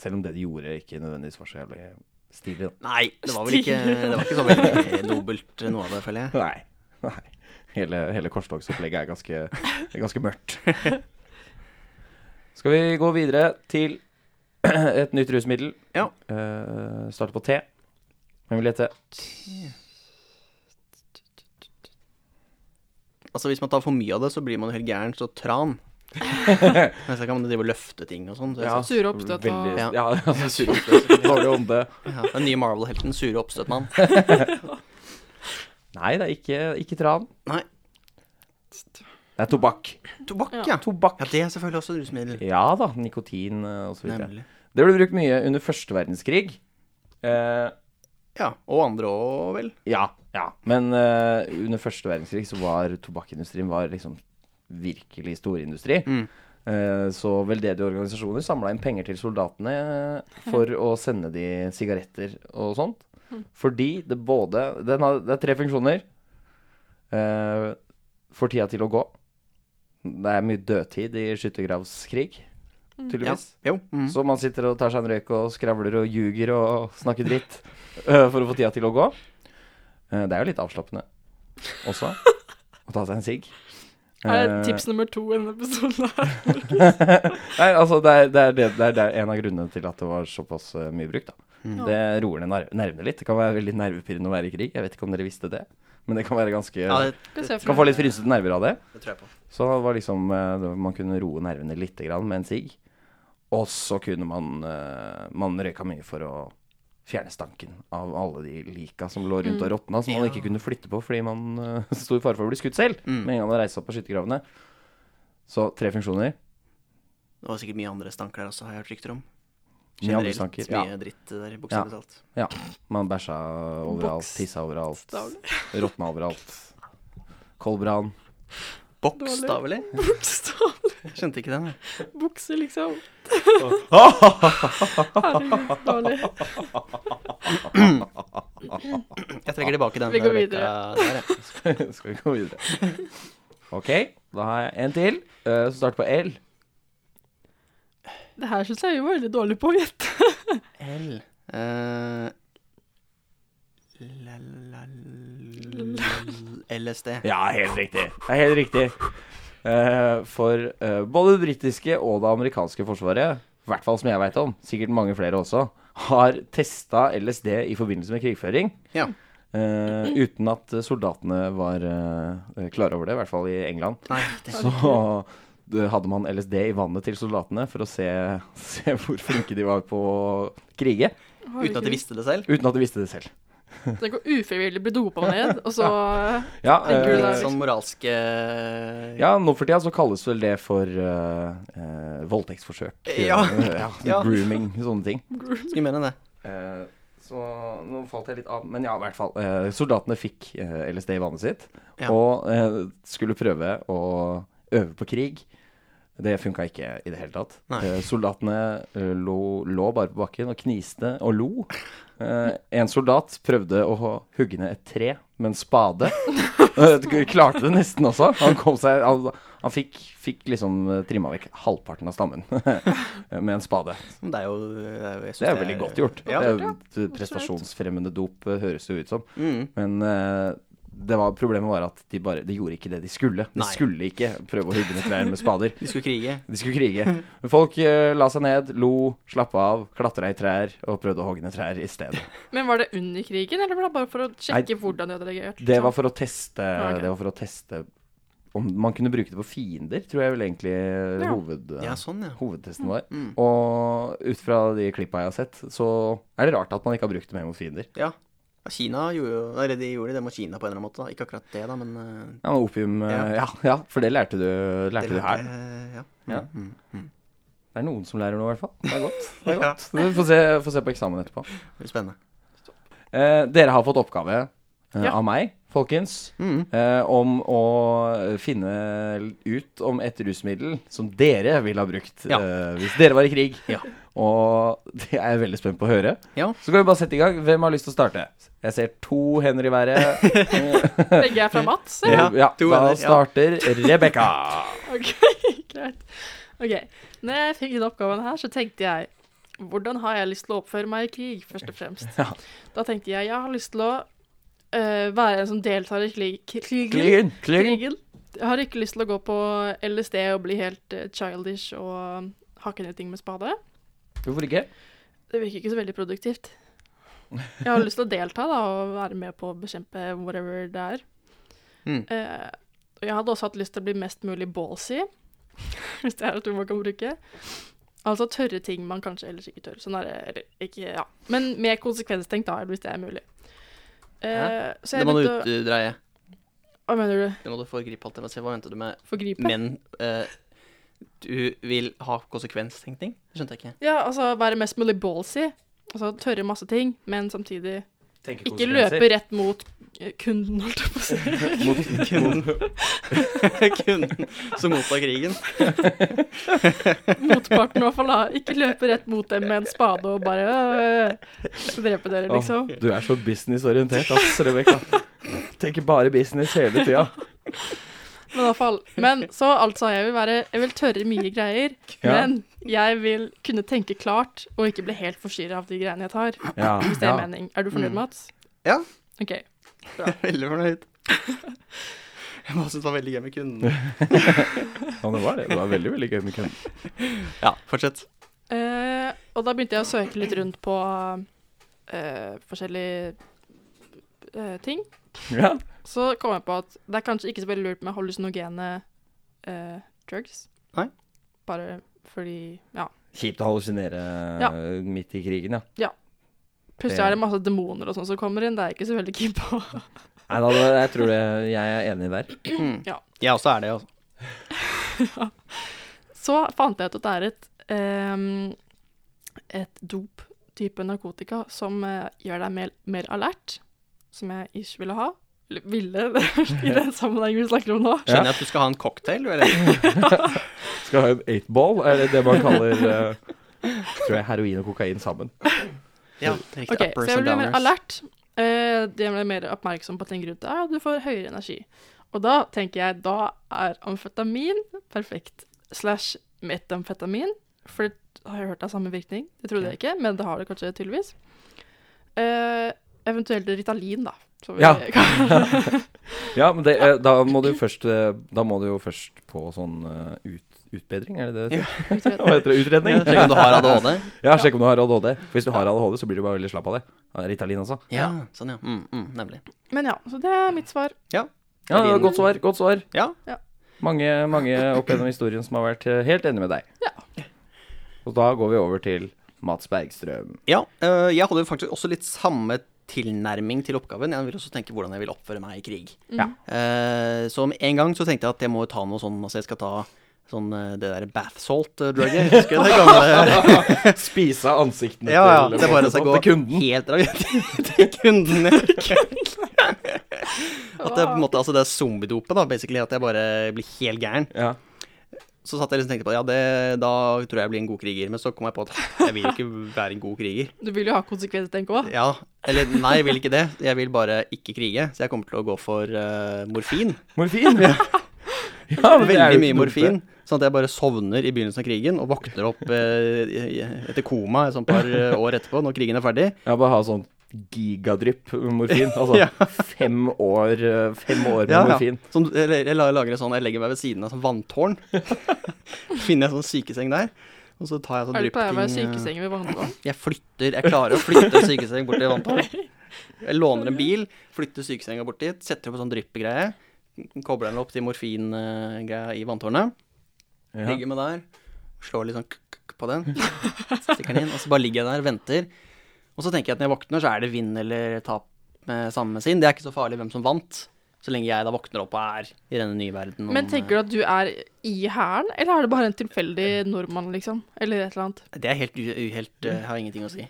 [SPEAKER 1] Selv om det de gjorde, ikke nødvendigvis var så jævlig stilig, da.
[SPEAKER 2] Nei, det var vel ikke, det var ikke så veldig nobelt, noe av det, føler jeg.
[SPEAKER 1] Nei. Nei. Hele, hele korstogsopplegget er ganske, er ganske mørkt. Skal vi gå videre til et nytt rusmiddel?
[SPEAKER 2] Ja.
[SPEAKER 1] Eh, starter på T. Hvem vil gjette?
[SPEAKER 2] Altså Hvis man tar for mye av det, så blir man helt gæren. Så tran. Men så kan man drive og løfte ting og sånn. så jeg
[SPEAKER 1] Ja,
[SPEAKER 2] synes-
[SPEAKER 3] Sure oppstøt
[SPEAKER 1] veldig-
[SPEAKER 3] og
[SPEAKER 2] Ja.
[SPEAKER 1] Ja, altså, sure oppstøt. Dårlig ånde.
[SPEAKER 2] Ja, den nye Marvel-helten, sure oppstøtmann.
[SPEAKER 1] Nei, det er ikke, ikke tran.
[SPEAKER 2] Nei.
[SPEAKER 1] Det er tobakk.
[SPEAKER 2] Tobakk, ja.
[SPEAKER 3] Ja.
[SPEAKER 2] Ja,
[SPEAKER 1] Tobakk.
[SPEAKER 2] Det er selvfølgelig også et rusmiddel.
[SPEAKER 1] Ja da, nikotin eh, og så videre.
[SPEAKER 2] Nemlig.
[SPEAKER 1] Det ble brukt mye under første verdenskrig. Eh,
[SPEAKER 2] Ja, Og andre òg, vel.
[SPEAKER 1] ja, ja. Men eh, under første verdenskrig så var tobakkindustrien var liksom virkelig storindustri.
[SPEAKER 2] Mm.
[SPEAKER 1] Eh, så veldedige organisasjoner samla inn penger til soldatene eh, for å sende de sigaretter og sånt.
[SPEAKER 2] Mm.
[SPEAKER 1] Fordi det både den har, Det er tre funksjoner. Eh, får tida til å gå. Det er mye dødtid i skyttergravskrig,
[SPEAKER 2] Mm. Ja.
[SPEAKER 1] tydeligvis.
[SPEAKER 2] Jo.
[SPEAKER 3] Mm.
[SPEAKER 2] mhm.
[SPEAKER 1] Så man sitter og tar seg en røyk og skravler og ljuger og snakker dritt eh, for å få tida til å gå. Eh, det er jo litt avslappende også å ta seg en sigg.
[SPEAKER 3] Er det
[SPEAKER 1] Eh,
[SPEAKER 3] tips nummer to i denne episoden her?
[SPEAKER 1] Nei, altså det er, det, er det, det, er, det er en av grunnene til at det var såpass eh, mye brukt. da.
[SPEAKER 2] Mm.
[SPEAKER 1] Det roer ned ner nervene litt. Det kan være veldig nervepirrende å være i krig. Jeg vet ikke om dere visste det, men det kan være ganske
[SPEAKER 2] Ja, det,
[SPEAKER 3] Skal se for
[SPEAKER 1] Kan
[SPEAKER 3] meg.
[SPEAKER 1] få litt frynsete nerver av det.
[SPEAKER 2] det tror jeg på.
[SPEAKER 1] Så det var liksom eh, det- Man kunne roe nervene litt grann med en sigg. Og så kunne man eh, Man røyka mye for å fjerne stanken av alle de lika som lå rundt og råtna, som man
[SPEAKER 2] Mm. Ja.
[SPEAKER 1] ikke kunne flytte på fordi man eh, sto i fare for å bli skutt selv
[SPEAKER 2] Mm.
[SPEAKER 1] med en gang man reiste seg opp på skyttergravene. Så tre funksjoner.
[SPEAKER 2] Det var sikkert mye andre stanker der også, har jeg hørt rykter om.
[SPEAKER 1] Mye andre
[SPEAKER 2] Generelt
[SPEAKER 1] stanker.
[SPEAKER 2] mye
[SPEAKER 1] Ja.
[SPEAKER 2] dritt der, bokstavelig talt.
[SPEAKER 1] ja. Man bæsja overalt, tissa overalt,
[SPEAKER 3] Bokstavelig.
[SPEAKER 1] råtna overalt. Koldbrann.
[SPEAKER 2] Bokstavelig?
[SPEAKER 3] Bokstav.
[SPEAKER 2] Skjønte ikke den, jeg.
[SPEAKER 3] Bukse, liksom. Herregud, dårlig.
[SPEAKER 2] Jeg trekker tilbake den.
[SPEAKER 3] Vi
[SPEAKER 2] rekka
[SPEAKER 3] går videre.
[SPEAKER 2] Der, ja.
[SPEAKER 1] Skal vi gå videre? OK, da har jeg en til, eh, som starter på L.
[SPEAKER 3] Det her syns jeg vi var veldig dårlig på å gjette.
[SPEAKER 2] L. Eh, la, la, la, LSD.
[SPEAKER 1] Ja, helt riktig. Det er helt riktig. Eh, for eh, både det britiske og det amerikanske forsvaret, i hvert fall som jeg veit om, sikkert mange flere også, har testa LSD i forbindelse med krigføring.
[SPEAKER 2] Ja.
[SPEAKER 1] eh, uten at soldatene var eh, klare over det, i hvert fall i England.
[SPEAKER 2] Nei, det
[SPEAKER 1] Så det hadde man LSD i vannet til soldatene for å se, se hvor flinke de var på å krige.
[SPEAKER 2] Uten at de visste det selv?
[SPEAKER 1] Uten at de visste det selv.
[SPEAKER 3] Tenk å ufrivillig bli dopa ned, og så
[SPEAKER 1] Ja,
[SPEAKER 3] Tenker du
[SPEAKER 1] eh,
[SPEAKER 3] det?
[SPEAKER 2] Litt sånn moralske
[SPEAKER 1] ja nå for tida så kalles vel det for eh, eh, voldtektsforsøk.
[SPEAKER 2] Ja.
[SPEAKER 1] Eh, ja,
[SPEAKER 2] Ja.
[SPEAKER 1] Grooming, sånne ting.
[SPEAKER 2] Skulle mene det.
[SPEAKER 1] Eh, så nå falt jeg litt av, men ja, i hvert fall. Eh, soldatene fikk eh, LSD i vannet sitt
[SPEAKER 2] Ja.
[SPEAKER 1] og eh, skulle prøve å øve på krig. Det funka ikke i det hele tatt.
[SPEAKER 2] Nei.
[SPEAKER 1] Eh, soldatene eh, lå, lå bare på bakken og kniste og lo. Eh, en soldat prøvde å ha- hugge ned et tre med en spade. Eh, Klarte det nesten også. Han, kom seg, han, han fikk, fikk liksom trimma vekk halvparten av stammen med en spade.
[SPEAKER 2] Men Det er jo jeg synes
[SPEAKER 1] Det er veldig godt gjort.
[SPEAKER 2] Ja.
[SPEAKER 1] Det er jo et prestasjonsfremmende dop, eh, høres det ut som.
[SPEAKER 2] Mm.
[SPEAKER 1] Men eh, det var, problemet var at de bare de gjorde ikke det de skulle. De
[SPEAKER 2] Nei.
[SPEAKER 1] skulle ikke prøve å hugge ned trær med spader.
[SPEAKER 2] De skulle krige.
[SPEAKER 1] De skulle krige. Men Folk eh, la seg ned, lo, slappa av, klatra i trær og prøvde å hogge ned trær i stedet.
[SPEAKER 3] Men var det under krigen, eller var det bare for å sjekke
[SPEAKER 1] Nei,
[SPEAKER 3] hvordan de hadde reagert?
[SPEAKER 1] Det var for å teste,
[SPEAKER 3] Ja, ok.
[SPEAKER 1] det var for å teste om man kunne bruke det på fiender, tror jeg vel egentlig eh,
[SPEAKER 3] Ja.
[SPEAKER 1] hoved,
[SPEAKER 2] Ja, sånn, ja.
[SPEAKER 1] hovedtesten var.
[SPEAKER 2] Mm.
[SPEAKER 1] Og ut fra de klippa jeg har sett, så er det rart at man ikke har brukt det mer mot fiender.
[SPEAKER 2] ja. Ja, Kina gjorde jo Eller de gjorde det mot Kina på en eller annen måte. da. Ikke akkurat det, da, men eh,
[SPEAKER 1] Ja, men opium eh,
[SPEAKER 2] Ja.
[SPEAKER 1] ja. ja, for det lærte du,
[SPEAKER 2] det
[SPEAKER 1] lærte du her.
[SPEAKER 2] eh, Ja.
[SPEAKER 1] Ja.
[SPEAKER 2] Mm. Mm.
[SPEAKER 1] Det er noen som lærer noe, i hvert fall. Det er godt. Det er
[SPEAKER 2] Ja.
[SPEAKER 1] godt. Vi får se, får se på eksamen etterpå.
[SPEAKER 2] Det blir spennende.
[SPEAKER 1] Eh, dere har fått oppgave eh,
[SPEAKER 3] Ja.
[SPEAKER 1] av meg, folkens,
[SPEAKER 2] Mm.
[SPEAKER 1] eh, om å finne ut om et rusmiddel som dere ville ha brukt
[SPEAKER 2] Ja.
[SPEAKER 1] eh, hvis dere var i krig.
[SPEAKER 2] Ja.
[SPEAKER 1] Og det er jeg veldig spent på å høre.
[SPEAKER 2] Ja.
[SPEAKER 1] Så kan vi bare sette i gang. Hvem har lyst til å starte? Jeg ser to hender i været.
[SPEAKER 3] Sånn, Begge er fra Mats, eller?
[SPEAKER 2] Ja,
[SPEAKER 1] ja,
[SPEAKER 2] to
[SPEAKER 1] da
[SPEAKER 2] hender, ja.
[SPEAKER 1] starter Rebekka.
[SPEAKER 3] Ok, greit. Ok, når jeg fikk den oppgaven her, så tenkte jeg hvordan har jeg lyst til å oppføre meg i krig, først og fremst.
[SPEAKER 1] Ja.
[SPEAKER 3] Da tenkte jeg jeg har lyst til å eh, være en som deltar i krig, krigen.
[SPEAKER 1] Kligen, kligen.
[SPEAKER 3] krigen. Jeg har ikke lyst til å gå på LSD og bli helt eh, childish og hakke ned ting med spade.
[SPEAKER 1] Hvorfor ikke?
[SPEAKER 3] Det virker ikke så veldig produktivt. Jeg har lyst til å delta da, og være med på å bekjempe whatever det er.
[SPEAKER 2] Mm.
[SPEAKER 3] Eh, og jeg hadde også hatt lyst til å bli mest mulig ballsy, hvis det er et ord man kan bruke. Altså tørre ting man kanskje ellers ikke tør. Sånn er det, eller ikke, ja. Men mer konsekvenstenkt da, hvis det er mulig. Eh, så
[SPEAKER 2] Det
[SPEAKER 3] jeg
[SPEAKER 2] må du
[SPEAKER 3] begynte å...
[SPEAKER 2] utdreie.
[SPEAKER 3] Hva mener du?
[SPEAKER 2] Det må du foregripe alt det. men se, Hva mente du med
[SPEAKER 3] Forgripe?
[SPEAKER 2] Men eh, du vil ha konsekvenstenkning? Det skjønte jeg ikke.
[SPEAKER 3] Ja, altså være mest mulig ballsy. Altså tørre masse ting, men samtidig ikke løpe rett mot eh, kunden, holdt jeg på å si.
[SPEAKER 2] Kunden. Kunden som mottar krigen.
[SPEAKER 3] Motparten i hvert fall, da. Ikke løpe rett mot dem med en spade og bare øh, skal drepe dere, liksom.
[SPEAKER 1] du er så businessorientert, ass, Rebekka. Tenker bare business hele tida.
[SPEAKER 3] Men i hvert fall. Men så altså, jeg vil være Jeg vil tørre mye greier,
[SPEAKER 1] Ja.
[SPEAKER 3] men jeg vil kunne tenke klart og ikke bli helt forstyrra av de greiene jeg tar.
[SPEAKER 1] Ja.
[SPEAKER 3] Hvis det er mening. Er du fornøyd,
[SPEAKER 2] Mm.
[SPEAKER 3] Mats?
[SPEAKER 2] Ja.
[SPEAKER 3] OK.
[SPEAKER 2] Veldig fornøyd. Jeg bare syntes det var veldig gøy med kunden.
[SPEAKER 1] ja, det var det. Det var veldig, veldig gøy med kønn.
[SPEAKER 2] Ja, fortsett.
[SPEAKER 3] Eh, og da begynte jeg å søke litt rundt på eh, forskjellige eh, ting.
[SPEAKER 1] Ja.
[SPEAKER 3] Så kom jeg på at det er kanskje ikke så veldig lurt med hallusinogene eh, drugs.
[SPEAKER 2] Nei.
[SPEAKER 3] Bare fordi Ja.
[SPEAKER 1] Kjipt å hallusinere
[SPEAKER 3] Ja.
[SPEAKER 1] midt i krigen, ja.
[SPEAKER 3] Plutselig
[SPEAKER 1] Det-
[SPEAKER 3] er det masse demoner og sånn som kommer inn. Det er jeg ikke så veldig keen på.
[SPEAKER 1] Nei, da, da- jeg tror det, jeg er enig der.
[SPEAKER 2] Mm.
[SPEAKER 3] Ja.
[SPEAKER 2] Jeg også er det, altså.
[SPEAKER 3] Så fant jeg ut at det er et, ehm, et dop-type narkotika som eh, gjør deg mer, mer alert, som jeg ikke ville ha. Eller ville, i den sammenhengen vi snakker om nå.
[SPEAKER 1] Ja.
[SPEAKER 2] Skjønner jeg at du skal ha en cocktail, du, eller?
[SPEAKER 1] Skal ha en eightball, er det det man kaller eh, Tror jeg heroin og kokain sammen.
[SPEAKER 2] Ja, det er riktig.
[SPEAKER 3] Ok, så
[SPEAKER 2] Uppers
[SPEAKER 3] jeg
[SPEAKER 2] and
[SPEAKER 3] blir mer
[SPEAKER 2] downers.
[SPEAKER 3] alert. Eh, jeg blir mer oppmerksom på ting rundt deg, og du får høyere energi. Og da tenker jeg, da er amfetamin perfekt. Slash metamfetamin. For det har jeg hørt av samme virkning. Det trodde jeg ikke, men det har det kanskje tydeligvis. Eh, eventuelt Ritalin, da. som vi
[SPEAKER 1] Ja.
[SPEAKER 3] kan-
[SPEAKER 1] Ja, men det, eh, da, må du først, eh, da må du jo først på sånn eh, ut, utbedring, er det det? det? heter? Hva heter det? Utredning?
[SPEAKER 2] Ja, Sjekk om du har ADHD.
[SPEAKER 1] Ja, sjekk om du har ADHD. For hvis du har ADHD, så blir du bare veldig slapp av det. Av Ritalin også.
[SPEAKER 2] Ja, sånn, ja. Mm, mm, nemlig.
[SPEAKER 3] men ja, så det er mitt svar.
[SPEAKER 1] Ja, det var godt svar. Godt svar.
[SPEAKER 2] Ja.
[SPEAKER 3] Ja.
[SPEAKER 1] Mange, mange opp gjennom historien som har vært eh, helt enig med deg.
[SPEAKER 3] Ja.
[SPEAKER 1] Og da går vi over til Mats Bergstrøm.
[SPEAKER 2] Ja, øh, jeg hadde jo faktisk også litt samme tilnærming til oppgaven. Jeg vil også tenke hvordan jeg vil oppføre meg i krig.
[SPEAKER 1] Ja.
[SPEAKER 2] Eh, så med en gang så tenkte jeg at jeg må ta noe sånn, altså jeg skal ta sånn eh, det der bath salt-drugget. Husker du det gamle?
[SPEAKER 1] Spise av ansiktene
[SPEAKER 2] Ja, ja.
[SPEAKER 1] til,
[SPEAKER 2] Det er bare å så gå
[SPEAKER 1] til kunden.
[SPEAKER 2] helt av til kunden. At det er på en måte, altså det er zombiedopet, da, basically. At jeg bare blir helt gæren.
[SPEAKER 1] Ja.
[SPEAKER 2] Så satt jeg liksom og tenkte på ja, det, da tror jeg jeg blir en god kriger. Men så kom jeg på at jeg vil ikke være en god kriger.
[SPEAKER 3] Du vil jo ha konsekvenser, tenker jeg også.
[SPEAKER 2] Ja, eller nei, jeg vil ikke det. Jeg vil bare ikke krige. Så jeg kommer til å gå for eh, morfin.
[SPEAKER 1] Morfin. Ja, men det er jo
[SPEAKER 2] Veldig
[SPEAKER 1] ikke
[SPEAKER 2] mye
[SPEAKER 1] dumt,
[SPEAKER 2] morfin.
[SPEAKER 1] det.
[SPEAKER 2] Sånn at jeg bare sovner i begynnelsen av krigen og våkner opp eh, i- i- etter koma et sånt par eh, år etterpå, når krigen er ferdig.
[SPEAKER 1] Ja, bare ha sånn gigadrypp morfin. Altså
[SPEAKER 2] Ja.
[SPEAKER 1] fem år eh, Fem år med
[SPEAKER 2] Ja, ja.
[SPEAKER 1] morfin.
[SPEAKER 2] Sånn, eller, jeg la- lager et sånn, jeg legger meg ved siden av sånn vanntårn. Finner jeg sånn sykeseng der. Og så tar jeg sånn
[SPEAKER 3] Er det pleier å være
[SPEAKER 2] dryppting, eh,
[SPEAKER 3] sykesenger ved behandling?
[SPEAKER 2] Jeg flytter, jeg klarer å flytte sykesenga bort til vanntårnet. Jeg låner en bil, flytter sykesenga bort dit, setter opp en sånn dryppegreie. Kobler den opp til morfingreia i vanntårnet.
[SPEAKER 1] Ja.
[SPEAKER 2] Ligger med der, slår litt sånn k-k-k på den. Stikker den inn, og så bare ligger jeg der, venter. Og så tenker jeg at når jeg våkner, så er det vinn eller tap med samme sinn. Det er ikke så farlig hvem som vant, så lenge jeg da våkner opp og er i denne nye verden. om- eh,
[SPEAKER 3] Men tenker du at du er i hæren, eller er det bare en tilfeldig nordmann, liksom? Eller et eller annet?
[SPEAKER 2] eh, Det er helt, u- u- helt
[SPEAKER 3] Mm.
[SPEAKER 2] uh, har ingenting å si.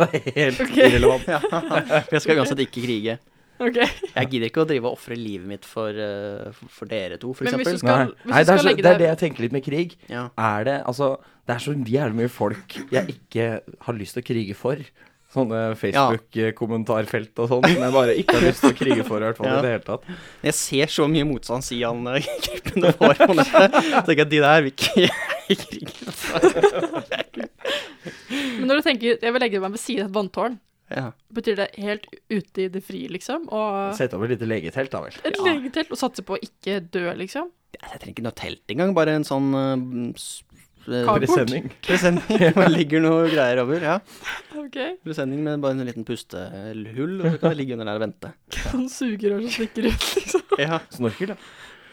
[SPEAKER 1] Det er helt irrelevant.
[SPEAKER 2] Ja. For jeg skal uansett ikke krige.
[SPEAKER 3] Ok.
[SPEAKER 2] Jeg gidder ikke å drive og ofre livet mitt for, eh, for- for dere to, for
[SPEAKER 3] Men hvis
[SPEAKER 1] Nei,
[SPEAKER 2] eksempel.
[SPEAKER 3] du skal- hvis du
[SPEAKER 1] Nei det,
[SPEAKER 3] skal
[SPEAKER 1] er så,
[SPEAKER 3] legge
[SPEAKER 1] det er
[SPEAKER 3] deg-
[SPEAKER 1] det jeg tenker litt med krig.
[SPEAKER 2] Ja.
[SPEAKER 1] er det Altså, det er så jævlig mye folk jeg ikke har lyst til å krige for. Sånne Facebook-kommentarfelt og sånn som jeg bare ikke har lyst til å krige for. I hvert fall
[SPEAKER 2] Ja.
[SPEAKER 1] i det hele tatt.
[SPEAKER 2] Jeg ser så mye motstand eh, Sian-gruppene får på nettet. Så tenker jeg at de der vil ikke jeg kriger for.
[SPEAKER 3] Men når du tenker jeg vil legge meg ved siden av et vanntårn,
[SPEAKER 2] Ja.
[SPEAKER 3] Betyr det helt ute i det frie, liksom? Og
[SPEAKER 1] Sett opp et lite legetelt, da vel.
[SPEAKER 3] et
[SPEAKER 2] Ja.
[SPEAKER 3] legetelt og satse på å ikke dø, liksom?
[SPEAKER 2] Jeg trenger ikke noe telt engang, bare en sånn eh, s- eh,
[SPEAKER 3] Kar-
[SPEAKER 1] Presenning.
[SPEAKER 2] presenning. Man legger noe greier over. Ja.
[SPEAKER 3] OK.
[SPEAKER 2] Presenning med bare en liten pustehull, og så kan det ligge under der og vente.
[SPEAKER 3] Sånn sugerør som stikker ut, liksom.
[SPEAKER 2] Ja.
[SPEAKER 1] Snorkel, ja.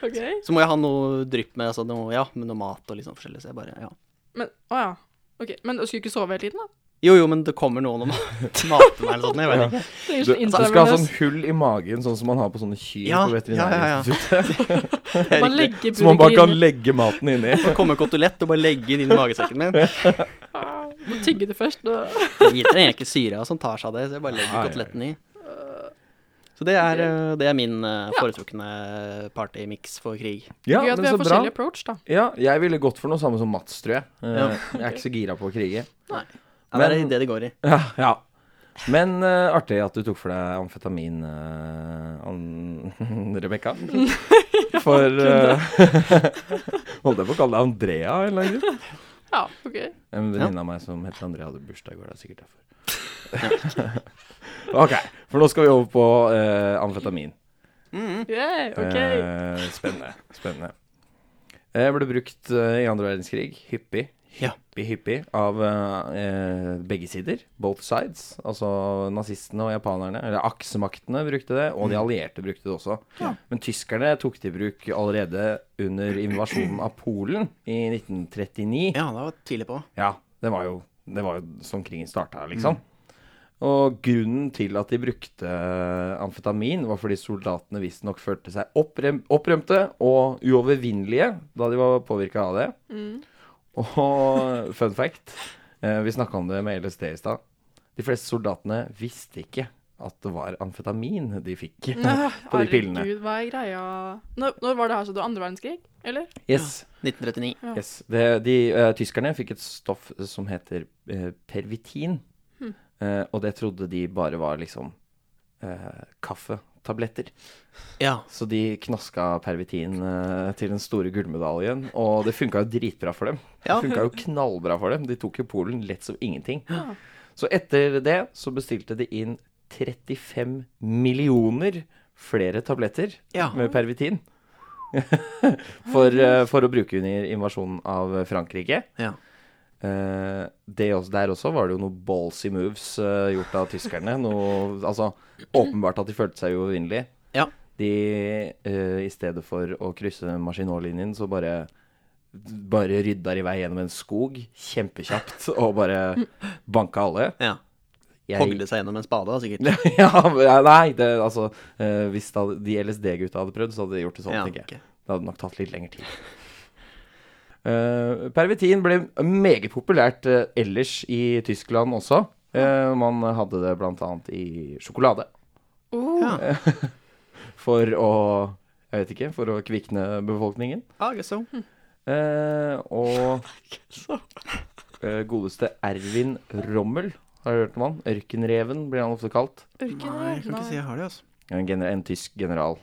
[SPEAKER 3] OK.
[SPEAKER 2] Så må jeg ha noe drypp med, altså noe, ja, med noe mat og litt sånn forskjellig. Så jeg bare, ja.
[SPEAKER 3] Men å ja. Ok, Men du skulle ikke sove hele tiden, da?
[SPEAKER 2] Jo, jo, men det kommer noen og mater meg eller sånn, jeg vet ikke.
[SPEAKER 3] Trenger
[SPEAKER 1] Du,
[SPEAKER 3] sånn
[SPEAKER 1] du skal ha
[SPEAKER 3] intravenøs.
[SPEAKER 1] sånn hull i magen, sånn som man har på sånne kyr
[SPEAKER 2] Ja,
[SPEAKER 1] på
[SPEAKER 2] ja, ja, ja.
[SPEAKER 1] Veterinærinstituttet.
[SPEAKER 2] Det er
[SPEAKER 3] Bare
[SPEAKER 2] riktig.
[SPEAKER 3] legge
[SPEAKER 1] Som man bare kan
[SPEAKER 3] burgeren
[SPEAKER 1] legge maten inni.
[SPEAKER 2] Det kommer kotolett og bare legge den inn i magesekken min.
[SPEAKER 3] i og tygge det først. Og...
[SPEAKER 2] Driter egentlig ikke syra som tar seg av det, så jeg
[SPEAKER 1] Ai,
[SPEAKER 2] bare
[SPEAKER 1] ai,
[SPEAKER 2] legger
[SPEAKER 1] ai.
[SPEAKER 2] koteletten i. Så Øh. det er, eh, det er min eh, foretrukne partymix for krig.
[SPEAKER 1] Ja,
[SPEAKER 3] Gøy at
[SPEAKER 1] men
[SPEAKER 3] vi
[SPEAKER 1] så
[SPEAKER 3] har
[SPEAKER 1] bra.
[SPEAKER 3] forskjellig approach, da.
[SPEAKER 1] Ja, jeg ville gått for noe samme som Mats, tror jeg. Eh,
[SPEAKER 2] Ja.
[SPEAKER 1] Jeg er ikke så gira på å krige.
[SPEAKER 2] Ja, det er
[SPEAKER 1] Men-
[SPEAKER 2] det det går i.
[SPEAKER 1] Ja, ja. Men eh, artig at du tok for deg amfetamin, eh, an Rebekka. For eh, Holdt jeg på å kalle deg Andrea? Eller noe?
[SPEAKER 3] Ja, OK.
[SPEAKER 1] En venninne av meg som heter Andrea, hadde bursdag i går. Det er sikkert derfor. ok, for nå skal vi over på eh, amfetamin.
[SPEAKER 2] Mm-hmm.
[SPEAKER 3] Yeah, ok.
[SPEAKER 1] Eh, spennende. spennende. Det ble brukt eh, i andre verdenskrig hyppig,
[SPEAKER 2] Ja.
[SPEAKER 1] hyppig, hyppig av eh, begge sider. Both sides. Altså nazistene og japanerne. Eller aksemaktene brukte det, og de allierte brukte det også. Men tyskerne tok det i bruk allerede under invasjonen av Polen i 1939.
[SPEAKER 2] Ja, det var tidlig på.
[SPEAKER 1] Ja, det var jo, det var jo sånn krigen starta, liksom. Og grunnen til at de brukte eh, amfetamin, var fordi soldatene visstnok følte seg opprøm opprømte og uovervinnelige da de var påvirka av det. Og fun fact, eh, vi snakka om det med LSD i stad. De fleste soldatene visste ikke at det var amfetamin de fikk på de pillene.
[SPEAKER 3] Ah, Herregud, hva er greia? Når, når var det her, så du? Andre verdenskrig, eller?
[SPEAKER 1] Yes.
[SPEAKER 2] 1939.
[SPEAKER 3] Ja.
[SPEAKER 1] Yes. Det, de, eh, tyskerne fikk et stoff som heter eh, pervitin.
[SPEAKER 3] Hmm.
[SPEAKER 1] Eh, og det trodde de bare var liksom eh, kaffetabletter.
[SPEAKER 2] Ja.
[SPEAKER 1] Så de knaska pervitin eh, til den store gullmedaljen. Og det funka jo dritbra for dem.
[SPEAKER 2] Ja.
[SPEAKER 1] Det funka jo knallbra for dem. De tok jo Polen lett som ingenting.
[SPEAKER 3] Ja.
[SPEAKER 1] Så etter det så bestilte de inn 35 millioner flere tabletter
[SPEAKER 2] Ja.
[SPEAKER 1] med pervitin. for, eh, for å bruke under invasjonen av Frankrike.
[SPEAKER 2] ja.
[SPEAKER 1] Eh, det også, der også var det jo noen ballsy moves eh, gjort av tyskerne. Noe, altså, åpenbart at de følte seg uovervinnelige.
[SPEAKER 2] Ja.
[SPEAKER 1] De, eh, i stedet for å krysse Maginot-linjen, så bare bare rydda de vei gjennom en skog kjempekjapt og bare banka alle.
[SPEAKER 2] ja. Hogde seg gjennom en spade, da, sikkert.
[SPEAKER 1] ja, men- ja, nei, det, altså eh, Hvis da, de LSD-gutta hadde prøvd, så hadde de gjort det sånn,
[SPEAKER 2] Ja,
[SPEAKER 1] tenker
[SPEAKER 2] ok.
[SPEAKER 1] jeg. Det hadde nok tatt litt lengre tid. Eh, pervitin ble meget populært eh, ellers i Tyskland også. Eh, man hadde det bl.a. i sjokolade
[SPEAKER 3] Oh,
[SPEAKER 2] Ja.
[SPEAKER 1] for å Jeg vet ikke, for å kvikne befolkningen.
[SPEAKER 2] Ah, I guess so.
[SPEAKER 1] Eh, og
[SPEAKER 3] så-
[SPEAKER 1] eh, godeste Ervin Rommel, har du hørt om han? Ørkenreven blir han ofte kalt.
[SPEAKER 2] Nei, Hm.
[SPEAKER 3] Orker
[SPEAKER 2] jeg
[SPEAKER 3] det?
[SPEAKER 2] kan ikke si jeg har det, altså.
[SPEAKER 1] En, gener en tysk general.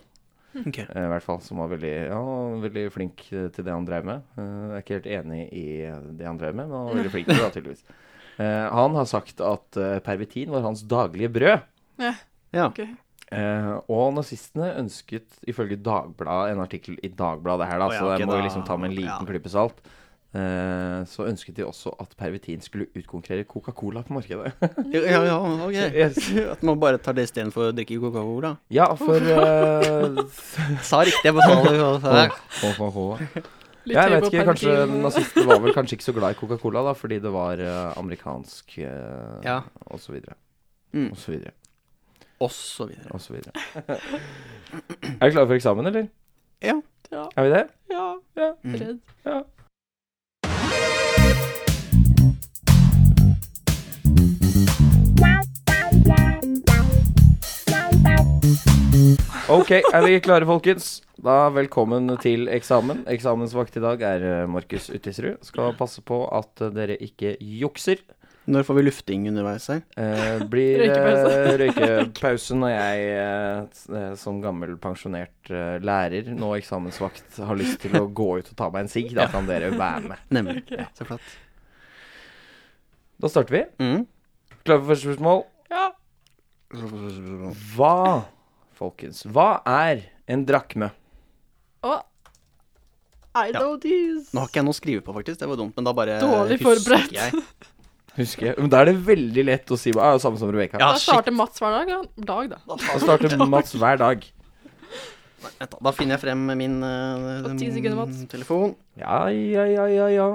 [SPEAKER 2] Ok.
[SPEAKER 1] Eh, I hvert fall, som var veldig, ja, han var veldig flink eh, til det han drev med. Eh, Jeg er ikke helt enig i eh, det han drev med, men han var veldig flink til det, da, tydeligvis. Eh, Han har sagt at eh, pervitin var hans daglige brød.
[SPEAKER 2] Ja.
[SPEAKER 3] Ok.
[SPEAKER 1] Eh, og nazistene ønsket, ifølge Dagbladet, en artikkel i Dagbladet her, da,
[SPEAKER 2] Å ja,
[SPEAKER 1] så det
[SPEAKER 2] ok,
[SPEAKER 1] må vi
[SPEAKER 2] da-
[SPEAKER 1] liksom ta med en liten
[SPEAKER 2] ja.
[SPEAKER 1] klype salt. Eh, så ønsket de også at pervitin skulle utkonkurrere Coca-Cola på markedet.
[SPEAKER 2] Ja, ja, ja, ok.
[SPEAKER 1] Yes.
[SPEAKER 2] At man bare tar det istedenfor å drikke Coca-Cola.
[SPEAKER 1] Ja, for eh,
[SPEAKER 2] Sa riktig, jeg betaler.
[SPEAKER 1] HHH. jeg
[SPEAKER 3] Litt høy
[SPEAKER 1] vet
[SPEAKER 3] på
[SPEAKER 1] ikke, kanskje
[SPEAKER 3] pervitin.
[SPEAKER 1] nazister var vel kanskje ikke så glad i Coca-Cola, da, fordi det var eh, amerikansk eh,
[SPEAKER 2] Ja.
[SPEAKER 1] og så videre.
[SPEAKER 2] Mm.
[SPEAKER 1] Og så videre.
[SPEAKER 2] Og så videre.
[SPEAKER 1] Og så videre. er vi klare for eksamen, eller?
[SPEAKER 2] Ja.
[SPEAKER 3] Ja.
[SPEAKER 1] Er vi det?
[SPEAKER 3] Ja,
[SPEAKER 1] Ja.
[SPEAKER 2] Mm.
[SPEAKER 3] redd.
[SPEAKER 1] ja. Ok, er vi klare, folkens? Da velkommen til eksamen. Eksamensvakt i dag er eh, Markus Uttisrud. Skal passe på at eh, dere ikke jukser.
[SPEAKER 2] Når får vi lufting underveis her?
[SPEAKER 1] Eh, blir eh,
[SPEAKER 3] Røykepause.
[SPEAKER 1] røykepause når jeg eh, s- eh, som gammel pensjonert eh, lærer, nå eksamensvakt, har lyst til å gå ut og ta meg en sigg. Da kan dere være med.
[SPEAKER 2] Nemlig. Ja, så flott.
[SPEAKER 1] Da starter vi.
[SPEAKER 2] Mm.
[SPEAKER 1] Klare for første spørsmål?
[SPEAKER 3] Ja.
[SPEAKER 1] Hva, folkens, hva er en drakme?
[SPEAKER 3] Og I
[SPEAKER 2] Ja.
[SPEAKER 3] know these.
[SPEAKER 2] Nå har ikke jeg noe å skrive på, faktisk. Det var dumt, men da bare
[SPEAKER 3] Dårlig
[SPEAKER 2] husker
[SPEAKER 3] forberedt.
[SPEAKER 2] jeg.
[SPEAKER 1] Husker jeg. Men Da er det veldig lett å si hva ja, Samme som Rebekka.
[SPEAKER 2] Ja,
[SPEAKER 3] da
[SPEAKER 2] shit.
[SPEAKER 3] starter Mats hver dag. da. Dag, da.
[SPEAKER 2] Da,
[SPEAKER 1] Da
[SPEAKER 2] tar-
[SPEAKER 1] starter Mats hver dag.
[SPEAKER 2] Vent da, da finner jeg frem min eh,
[SPEAKER 3] Og ti sekunder, Mats.
[SPEAKER 2] telefon.
[SPEAKER 1] Ja, ja, ja, ja, ja.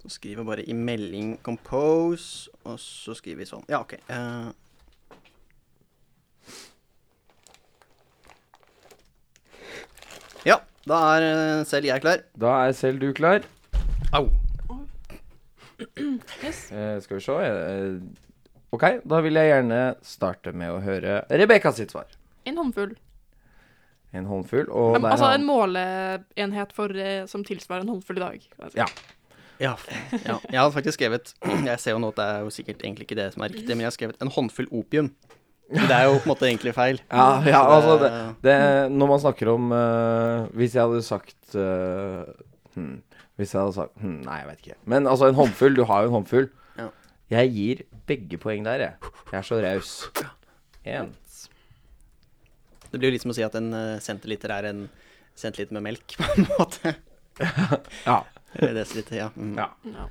[SPEAKER 2] Så skriver jeg bare i melding 'compose', og så skriver vi sånn. Ja, OK. eh, ja, da er eh, selv jeg klar.
[SPEAKER 1] Da er selv du klar.
[SPEAKER 2] Au.
[SPEAKER 3] Yes.
[SPEAKER 1] Eh, skal vi se eh, Ok, da vil jeg gjerne starte med å høre Rebekka sitt svar.
[SPEAKER 3] En håndfull.
[SPEAKER 1] En håndfull, og
[SPEAKER 3] Men,
[SPEAKER 1] der
[SPEAKER 3] altså
[SPEAKER 1] har-
[SPEAKER 3] en måleenhet for, eh, som tilsvarer en håndfull i dag. Altså.
[SPEAKER 1] Ja.
[SPEAKER 2] Ja, faen, ja. Jeg hadde faktisk skrevet Jeg ser jo nå at det er jo sikkert egentlig ikke det som er riktig, men jeg har skrevet 'en håndfull opium'. Men det er jo på en måte egentlig feil.
[SPEAKER 1] ja, ja, altså det,
[SPEAKER 2] Eh,
[SPEAKER 1] det, Når man snakker om eh, Hvis jeg hadde sagt eh, hmm, Hvis jeg hadde sagt hmm, Nei, jeg vet ikke. Men altså, en håndfull. Du har jo en håndfull.
[SPEAKER 2] Ja.
[SPEAKER 1] Jeg gir begge poeng der, jeg. Jeg er så raus. En.
[SPEAKER 2] Det blir jo litt som å si at en eh, centiliter er en centiliter med melk, på en måte.
[SPEAKER 1] Ja.
[SPEAKER 2] Eller desiliter, ja. Mm.
[SPEAKER 1] Ja.
[SPEAKER 3] Ja.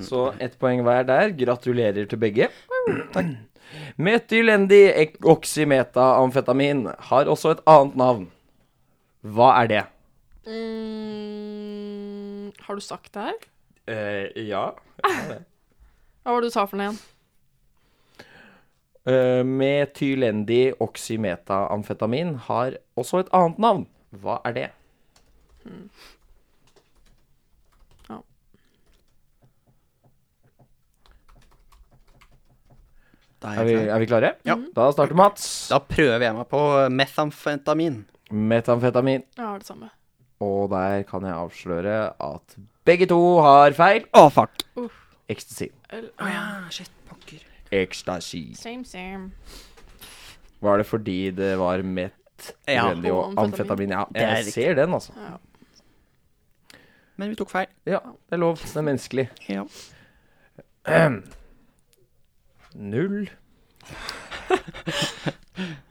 [SPEAKER 1] Så ett poeng hver der. Gratulerer til begge. Metylendi-oksimetaamfetamin har også et annet navn. Hva er det?
[SPEAKER 3] Mm, har du sagt det her?
[SPEAKER 1] ja
[SPEAKER 3] Hva var det du sa for noe igjen?
[SPEAKER 1] Eh, Metylendi-oksimetaamfetamin har også et annet navn. Hva er det?
[SPEAKER 3] Ja.
[SPEAKER 2] Da,
[SPEAKER 1] Er
[SPEAKER 2] er
[SPEAKER 1] vi,
[SPEAKER 2] jeg klar.
[SPEAKER 1] er vi klare?
[SPEAKER 2] Ja.
[SPEAKER 1] Da starter Mats.
[SPEAKER 2] da prøver jeg meg på eh, metamfetamin.
[SPEAKER 1] Metamfetamin.
[SPEAKER 3] Jeg har det samme.
[SPEAKER 1] Og der kan jeg avsløre at begge to har feil.
[SPEAKER 2] Å, fuck.
[SPEAKER 1] Ecstasy.
[SPEAKER 3] Eller,
[SPEAKER 2] Å ja, Ah, shit, pokker.
[SPEAKER 1] Ecstasy.
[SPEAKER 3] Same, same.
[SPEAKER 1] Var det fordi det var mett,
[SPEAKER 2] Ja.
[SPEAKER 1] nødvendig og
[SPEAKER 3] Og
[SPEAKER 1] amfetamin?
[SPEAKER 3] amfetamin.
[SPEAKER 1] Ja,
[SPEAKER 2] Det er
[SPEAKER 1] jeg
[SPEAKER 2] riktig.
[SPEAKER 1] ser den, altså.
[SPEAKER 3] Ja.
[SPEAKER 2] Men vi tok feil.
[SPEAKER 1] Ja, det er lov. Det er menneskelig.
[SPEAKER 2] Ja.
[SPEAKER 1] Null.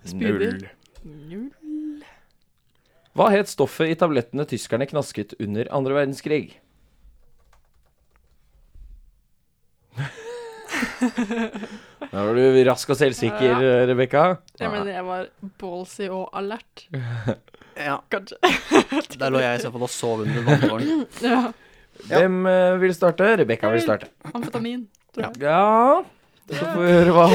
[SPEAKER 3] Spydig.
[SPEAKER 1] Null. Hva het stoffet i tablettene tyskerne knasket under andre verdenskrig? Da var du rask og selvsikker, Rebekka.
[SPEAKER 3] Jeg mener, jeg var ballsy og alert,
[SPEAKER 2] ja.
[SPEAKER 3] kanskje.
[SPEAKER 2] Da lå jeg i så fall og sov under vanntårnet.
[SPEAKER 3] ja.
[SPEAKER 1] Hvem eh, vil starte? Rebekka vil
[SPEAKER 3] Jeg vil.
[SPEAKER 1] starte.
[SPEAKER 3] Amfetamin. tror jeg.
[SPEAKER 1] Ja Så får vi høre hva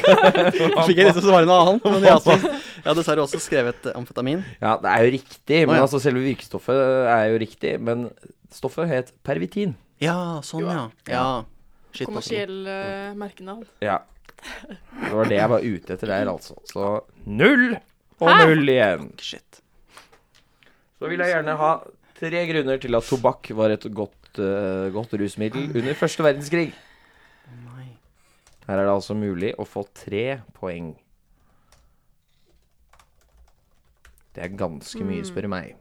[SPEAKER 2] Fikk jeg lyst til å svare noe annet, men jeg, også, jeg har dessverre også skrevet eh, amfetamin.
[SPEAKER 1] Ja, det er jo riktig. Men
[SPEAKER 2] Å, ja.
[SPEAKER 1] altså, selve virkestoffet er jo riktig. Men stoffet het pervitin.
[SPEAKER 2] Ja, sånn, ja. Ja. Shit, altså. pokker.
[SPEAKER 3] Kommersiell eh, merkenavn.
[SPEAKER 1] Ja. Det var det jeg var ute etter der, altså. Så null og
[SPEAKER 3] Hæ?
[SPEAKER 1] null igjen.
[SPEAKER 2] Shit.
[SPEAKER 1] Så vil jeg gjerne ha tre grunner til at tobakk var et godt, eh, godt rusmiddel under første verdenskrig.
[SPEAKER 2] Nei.
[SPEAKER 1] Her er det altså mulig å få tre poeng. Det er ganske mye, spør du meg.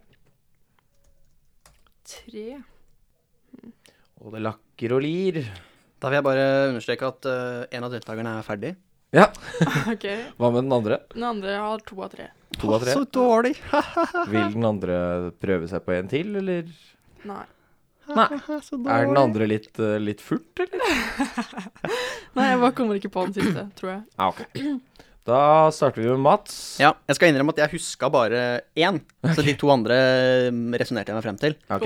[SPEAKER 3] Tre.
[SPEAKER 1] Og det lakker og lir.
[SPEAKER 2] Da vil jeg bare understreke at eh, en av deltakerne er ferdig.
[SPEAKER 1] Ja,
[SPEAKER 3] OK.
[SPEAKER 1] hva med den andre?
[SPEAKER 3] Den andre har to av tre.
[SPEAKER 1] To av tre.
[SPEAKER 2] Så dårlig.
[SPEAKER 1] Vil den andre prøve seg på en til, eller?
[SPEAKER 3] Nei.
[SPEAKER 1] Nei.
[SPEAKER 2] Så dårlig.
[SPEAKER 1] Er den andre litt, eh, litt furt, eller?
[SPEAKER 3] Nei, jeg bare kommer ikke på den siste, tror jeg.
[SPEAKER 1] Ja, Ah, ok. Da starter vi med Mats.
[SPEAKER 2] Ja, jeg skal innrømme at jeg huska bare én, så de to andre mm, resonnerte jeg meg frem til.
[SPEAKER 1] Ok.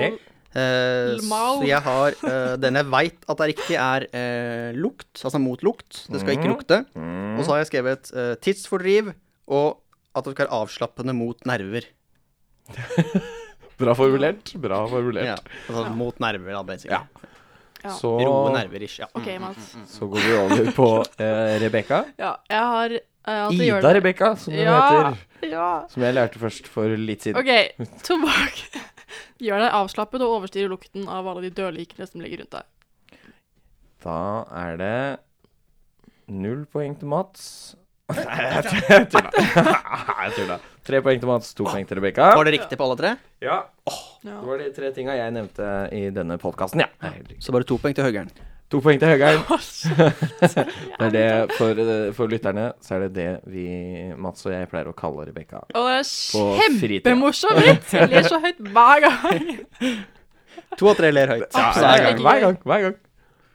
[SPEAKER 2] Eh,
[SPEAKER 3] Lmao.
[SPEAKER 2] så jeg har eh, Den jeg veit at er riktig, er eh, lukt, altså mot lukt. Det skal ikke lukte.
[SPEAKER 1] Mm.
[SPEAKER 2] Og så har jeg skrevet eh, tidsfordriv og at det skal være avslappende mot nerver.
[SPEAKER 1] Bra formulert. Bra
[SPEAKER 2] Ja,
[SPEAKER 1] formulert.
[SPEAKER 2] altså mot nerver, da, basically.
[SPEAKER 1] Ja.
[SPEAKER 3] Ja.
[SPEAKER 1] Så,
[SPEAKER 2] Roe nerver, ish. Ja.
[SPEAKER 1] Mm,
[SPEAKER 3] OK, Mats.
[SPEAKER 1] så går vi over på eh, Rebekka.
[SPEAKER 3] Ja, jeg har eh, alltid gjør
[SPEAKER 1] Ida Rebekka, som hun
[SPEAKER 3] Ja,
[SPEAKER 1] heter.
[SPEAKER 3] ja.
[SPEAKER 1] Som jeg lærte først for litt siden.
[SPEAKER 3] OK, tobakk gjør deg avslappet og overstyrer lukten av alle de dødlikene som ligger rundt deg.
[SPEAKER 1] Da er det null poeng til Mats. Nei, jeg tulla. Jeg tulla. Tre poeng til Mats, to poeng til Rebekka.
[SPEAKER 2] Var det riktig på alle tre?
[SPEAKER 1] Ja.
[SPEAKER 3] Ja.
[SPEAKER 1] Det var de tre tinga jeg nevnte i denne podkasten, ja.
[SPEAKER 2] Så bare to poeng til Høgern.
[SPEAKER 1] To poeng til Høgheim.
[SPEAKER 3] Det
[SPEAKER 1] Det er det for, eh, for lytterne så er det det vi, Mats og jeg, pleier å kalle Rebekka.
[SPEAKER 3] Og det
[SPEAKER 1] På
[SPEAKER 3] er
[SPEAKER 1] fritid.
[SPEAKER 3] kjempemorsomt! vits. Jeg ler så høyt hver gang.
[SPEAKER 2] To av tre ler høyt.
[SPEAKER 3] Ja,
[SPEAKER 1] hver
[SPEAKER 3] Absolutt.
[SPEAKER 1] gang. Hver gang.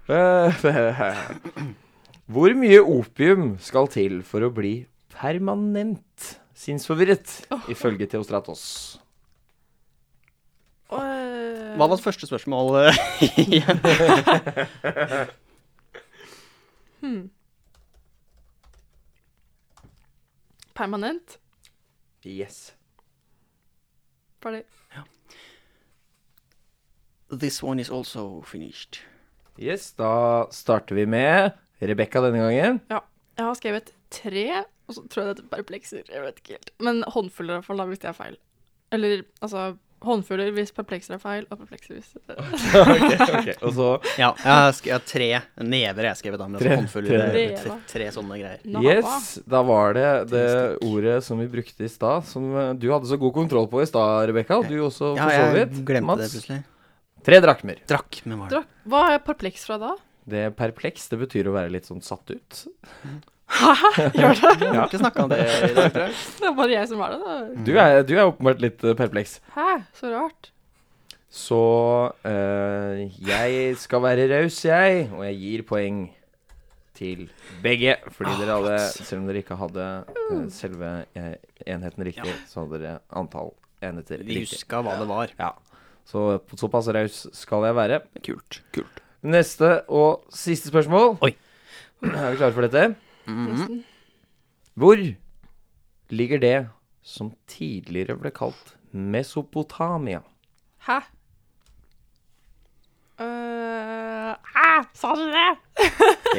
[SPEAKER 1] Hver gang. Eh, Hvor mye opium skal til for å bli permanent sinnsforvirret, ifølge Theostratos?
[SPEAKER 3] Og-
[SPEAKER 2] Hva var første spørsmål? igjen?
[SPEAKER 3] Permanent.
[SPEAKER 1] Yes.
[SPEAKER 3] Ferdig.
[SPEAKER 2] This one is also finished.
[SPEAKER 1] Yes, da starter vi med Rebekka denne gangen.
[SPEAKER 3] Ja. Jeg har skrevet tre, og så tror jeg det er perplekser. Jeg vet ikke helt. Men håndfuller, i hvert fall, da, hvis det er feil. Eller altså Håndfuller hvis perplekser er feil, og perplekser hvis
[SPEAKER 1] Og så
[SPEAKER 2] Ja, jeg har skrevet- jeg har tre never jeg har skrevet da, men altså
[SPEAKER 1] Tre-
[SPEAKER 2] håndfulle
[SPEAKER 1] tre-
[SPEAKER 2] det er
[SPEAKER 3] Tre, da.
[SPEAKER 2] tre, tre sånne greier.
[SPEAKER 3] Nava.
[SPEAKER 1] Yes, da var det det
[SPEAKER 2] Tusen takk.
[SPEAKER 1] ordet som vi brukte i stad, som eh, du hadde så god kontroll på i stad, Rebekka. Du også,
[SPEAKER 2] Ja,
[SPEAKER 1] for så
[SPEAKER 2] jeg
[SPEAKER 1] vidt.
[SPEAKER 2] glemte
[SPEAKER 1] Mats.
[SPEAKER 2] det plutselig.
[SPEAKER 1] Tre drakmer.
[SPEAKER 2] Drakk, men var det
[SPEAKER 3] Drakk. Hva er perpleks fra da?
[SPEAKER 1] Det er perpleks, det betyr å være litt sånn satt ut.
[SPEAKER 2] Vi har ikke snakka om det i dag, tror jeg.
[SPEAKER 3] Det er bare jeg som er det, da.
[SPEAKER 1] Du er, du er åpenbart litt eh, perpleks.
[SPEAKER 3] Hæ? Så rart.
[SPEAKER 1] Så eh, jeg skal være raus, jeg, og jeg gir poeng til begge. Fordi dere hadde, selv om dere ikke hadde eh, selve eh, enheten riktig, så hadde dere antall enheter
[SPEAKER 2] Vi
[SPEAKER 1] riktig.
[SPEAKER 2] huska hva det var.
[SPEAKER 1] Ja. Så såpass raus skal jeg være.
[SPEAKER 2] Kult. Kult.
[SPEAKER 1] Neste og siste spørsmål.
[SPEAKER 2] Oi.
[SPEAKER 1] Er vi klare for dette? Hvor ligger det som tidligere ble kalt Mesopotamia?
[SPEAKER 3] Hæ? Uh, ah, sa du det?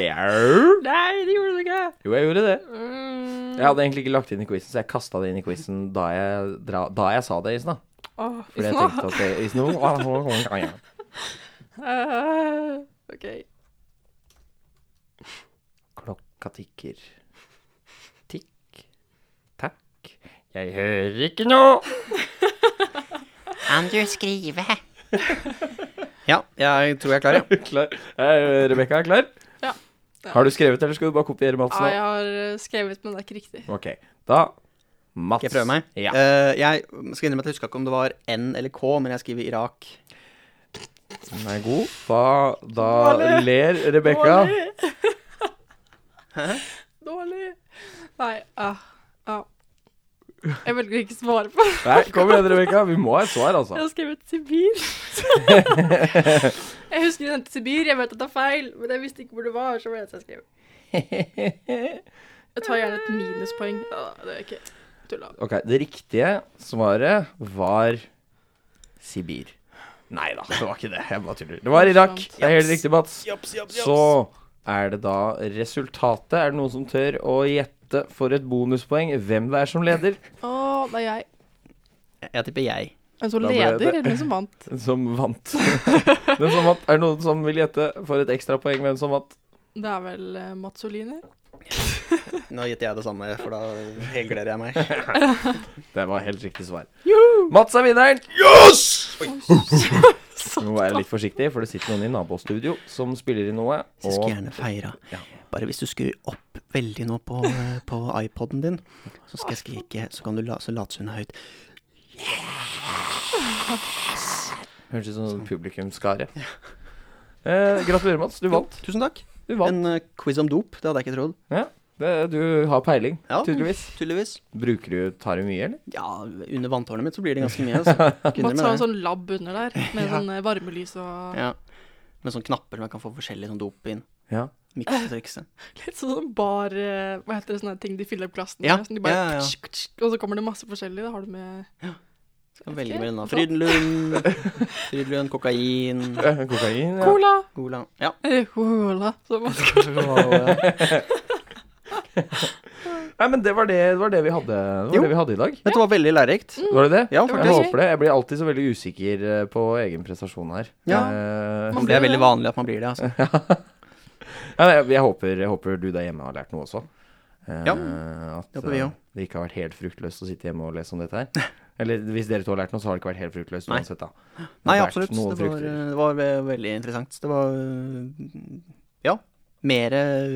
[SPEAKER 1] Jau.
[SPEAKER 3] Nei, det gjorde du ikke.
[SPEAKER 1] Jo, jeg gjorde det.
[SPEAKER 3] Mm.
[SPEAKER 1] Jeg hadde egentlig ikke lagt det inn i quizen, så jeg kasta det inn i quizen da jeg, dra, da jeg sa det i stad.
[SPEAKER 3] Åh,
[SPEAKER 1] Fordi jeg
[SPEAKER 3] nå.
[SPEAKER 1] tenkte at det i snor-
[SPEAKER 3] Eh, OK.
[SPEAKER 1] Klokka tikker. Tikk. Takk. Jeg hører ikke noe.
[SPEAKER 2] Kan du skrive? ja, jeg tror jeg klarer.
[SPEAKER 1] Klar. Eh, Rebekka er klar?
[SPEAKER 3] Ja.
[SPEAKER 1] Har du skrevet, eller skal du bare kopiere Mats
[SPEAKER 3] Ja,
[SPEAKER 1] nå?
[SPEAKER 3] jeg har eh, skrevet, men det er ikke riktig.
[SPEAKER 1] Ok, da Mats.
[SPEAKER 2] Skal jeg prøve meg?
[SPEAKER 1] Ja.
[SPEAKER 2] Eh, jeg skal innrømme at jeg huska ikke om det var N eller K, men jeg skriver Irak.
[SPEAKER 1] Den er god. Da, da ler Rebekka.
[SPEAKER 3] Dårlig. Dårlig. Nei, ah, ah. Jeg velger ikke å svare på det.
[SPEAKER 1] Nei, kom igjen, Rebekka. Vi må ha et svar,
[SPEAKER 3] Jeg
[SPEAKER 1] altså.
[SPEAKER 3] har skrevet Sibir. jeg husker den til Sibir, jeg vet at det er feil, men jeg visste ikke hvor det var. så var det eneste jeg skrev. Jeg tar gjerne et minuspoeng. Ah, det er ikke tulla.
[SPEAKER 1] Ok, Det riktige svaret var Sibir. Nei da, det var ikke det. Jeg bare tuller. Det var Irak. Det er helt riktig, Mats. Så er det da resultatet. Er det noen som tør å gjette for et bonuspoeng hvem det er som leder?
[SPEAKER 3] Å, det er jeg.
[SPEAKER 2] Jeg, jeg tipper jeg.
[SPEAKER 3] En
[SPEAKER 1] Da
[SPEAKER 3] som
[SPEAKER 1] ble
[SPEAKER 3] leder,
[SPEAKER 1] det-
[SPEAKER 3] eller en som vant?
[SPEAKER 1] Den som vant. Den som vant. Er det noen som vil gjette for et ekstrapoeng hvem som vant?
[SPEAKER 3] Det er vel eh, Matsolini.
[SPEAKER 2] Nå gjetter jeg det samme, for da helgleder jeg meg.
[SPEAKER 1] Det var helt riktig svar. Mats er vinneren. Vi må være litt forsiktig, for det sitter noen i nabostudio som spiller inn noe.
[SPEAKER 2] Jeg
[SPEAKER 1] og-
[SPEAKER 2] skulle gjerne feira. Bare hvis du skrur opp veldig nå på, eh, på iPoden din, så skal jeg skrike, så kan du la, så later hun høyt.
[SPEAKER 1] Høres ut som
[SPEAKER 2] Sånn.
[SPEAKER 1] en publikumsskare. Eh, gratulerer, Mats. Du vant.
[SPEAKER 2] Tusen takk.
[SPEAKER 1] Du vant.
[SPEAKER 2] En eh, quiz om dop, det hadde jeg ikke trodd.
[SPEAKER 1] Ja, det, du har peiling,
[SPEAKER 2] Ja.
[SPEAKER 1] tydeligvis.
[SPEAKER 2] Tydeligvis.
[SPEAKER 1] Bruker du Tar du mye, eller?
[SPEAKER 2] Ja, under vanntårnet mitt så blir det ganske mye. Altså. Kunne
[SPEAKER 3] Mats har
[SPEAKER 2] med
[SPEAKER 3] en
[SPEAKER 2] det.
[SPEAKER 3] sånn lab under der, med
[SPEAKER 2] Ja.
[SPEAKER 3] sånn eh, varmelys og
[SPEAKER 2] Ja. Med sånne knapper man kan få forskjellig sånn dop inn.
[SPEAKER 1] Ja.
[SPEAKER 2] Miksetrikset.
[SPEAKER 3] litt sånn bar eh, Hva heter det, sånne ting de fyller opp glassene
[SPEAKER 2] Ja,
[SPEAKER 3] med? Sånn de bare,
[SPEAKER 2] ja, ja, ja.
[SPEAKER 3] Og så kommer det masse forskjellig. Da har du med
[SPEAKER 2] Skal velge
[SPEAKER 3] Ok,
[SPEAKER 2] mellom da.
[SPEAKER 3] sant.
[SPEAKER 2] Frydenlund, Frydenlund, kokain,
[SPEAKER 1] Eh, Kokain, ja.
[SPEAKER 3] cola!
[SPEAKER 2] cola Ja.
[SPEAKER 3] Eh, Cola. Så man skal
[SPEAKER 1] Nei, men det var det, det, var det, vi, hadde. Det
[SPEAKER 2] Jo.
[SPEAKER 1] var det vi hadde i dag.
[SPEAKER 2] Dette var veldig lærerikt.
[SPEAKER 1] Var det det?
[SPEAKER 2] Ja,
[SPEAKER 3] Det var
[SPEAKER 1] Jeg
[SPEAKER 3] det.
[SPEAKER 1] håper det. Jeg blir alltid så veldig usikker eh, på egen prestasjon her.
[SPEAKER 2] Ja.
[SPEAKER 1] Eh,
[SPEAKER 3] Man
[SPEAKER 2] Det er
[SPEAKER 3] blir-
[SPEAKER 2] veldig vanlig at man blir det. altså.
[SPEAKER 1] Ja, nei, jeg, jeg, håper, jeg håper du der hjemme har lært noe også. Eh, Eh,
[SPEAKER 2] Ja,
[SPEAKER 1] At
[SPEAKER 2] det håper vi
[SPEAKER 1] eh,
[SPEAKER 2] også.
[SPEAKER 1] det ikke har vært helt fruktløst å sitte hjemme og lese om dette her. Eller hvis dere to har lært noe, så har det ikke vært helt fruktløst
[SPEAKER 2] Nei.
[SPEAKER 1] uansett, da. Det har
[SPEAKER 2] Nei,
[SPEAKER 1] vært
[SPEAKER 2] absolutt.
[SPEAKER 1] noe
[SPEAKER 2] Det var, eh,
[SPEAKER 1] frukter.
[SPEAKER 2] det var ve- veldig interessant. Det var eh, ja, mer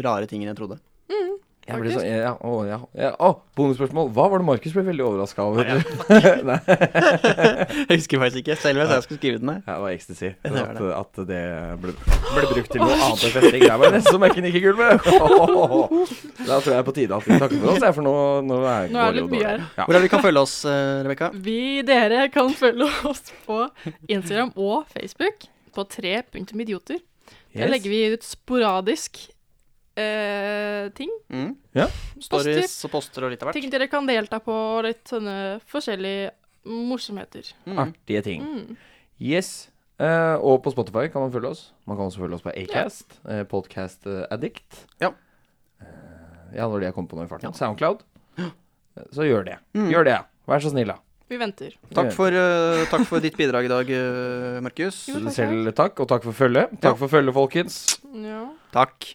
[SPEAKER 2] rare ting enn jeg trodde.
[SPEAKER 1] Jeg ble
[SPEAKER 3] Faktisk.
[SPEAKER 1] så, ja, å, ja, ja. Å, bonusspørsmål. Hva var det Markus ble veldig overraska over? Nei,
[SPEAKER 2] Jeg husker faktisk ikke, selv om jeg sa jeg skulle skrive den her.
[SPEAKER 1] det var ecstasy.
[SPEAKER 2] det var
[SPEAKER 1] At, at det ble, ble brukt til noe annet enn festing. Det var det som jeg kunne ikke gull med. Da tror jeg er på tide at vi takker for oss, jeg, for nå, nå er,
[SPEAKER 3] Nå er
[SPEAKER 1] går
[SPEAKER 3] det
[SPEAKER 1] jo
[SPEAKER 3] litt mye
[SPEAKER 1] dårlig.
[SPEAKER 3] her.
[SPEAKER 1] Ja.
[SPEAKER 2] Hvor er det vi kan følge oss, eh, Rebekka?
[SPEAKER 3] Vi, dere, kan følge oss på Instagram og Facebook på 3.idioter. Der
[SPEAKER 1] Yes.
[SPEAKER 3] legger vi ut sporadisk eh, ting.
[SPEAKER 2] Mm.
[SPEAKER 1] Ja.
[SPEAKER 3] Poster.
[SPEAKER 2] Stories og poster og litt av hvert.
[SPEAKER 3] Ting dere kan delta på, litt sånne forskjellige morsomheter.
[SPEAKER 2] Mm.
[SPEAKER 1] Artige ting. Yes. Eh, og på Spotify kan man følge oss. Man kan også følge oss på Acast, eh, Podcast eh, Addict.
[SPEAKER 2] Ja.
[SPEAKER 1] Eh, ja, når de har kommet på noe i farten. Soundcloud. Eh, Så gjør det.
[SPEAKER 2] Mm.
[SPEAKER 1] Gjør det. Vær så snill, da.
[SPEAKER 3] Vi venter.
[SPEAKER 2] Takk, for, eh, takk for ditt bidrag i dag, eh, Markus.
[SPEAKER 3] Jo, takk,
[SPEAKER 1] Selv takk, og takk for følget. Takk for følget, folkens.
[SPEAKER 3] Ja.
[SPEAKER 2] Takk.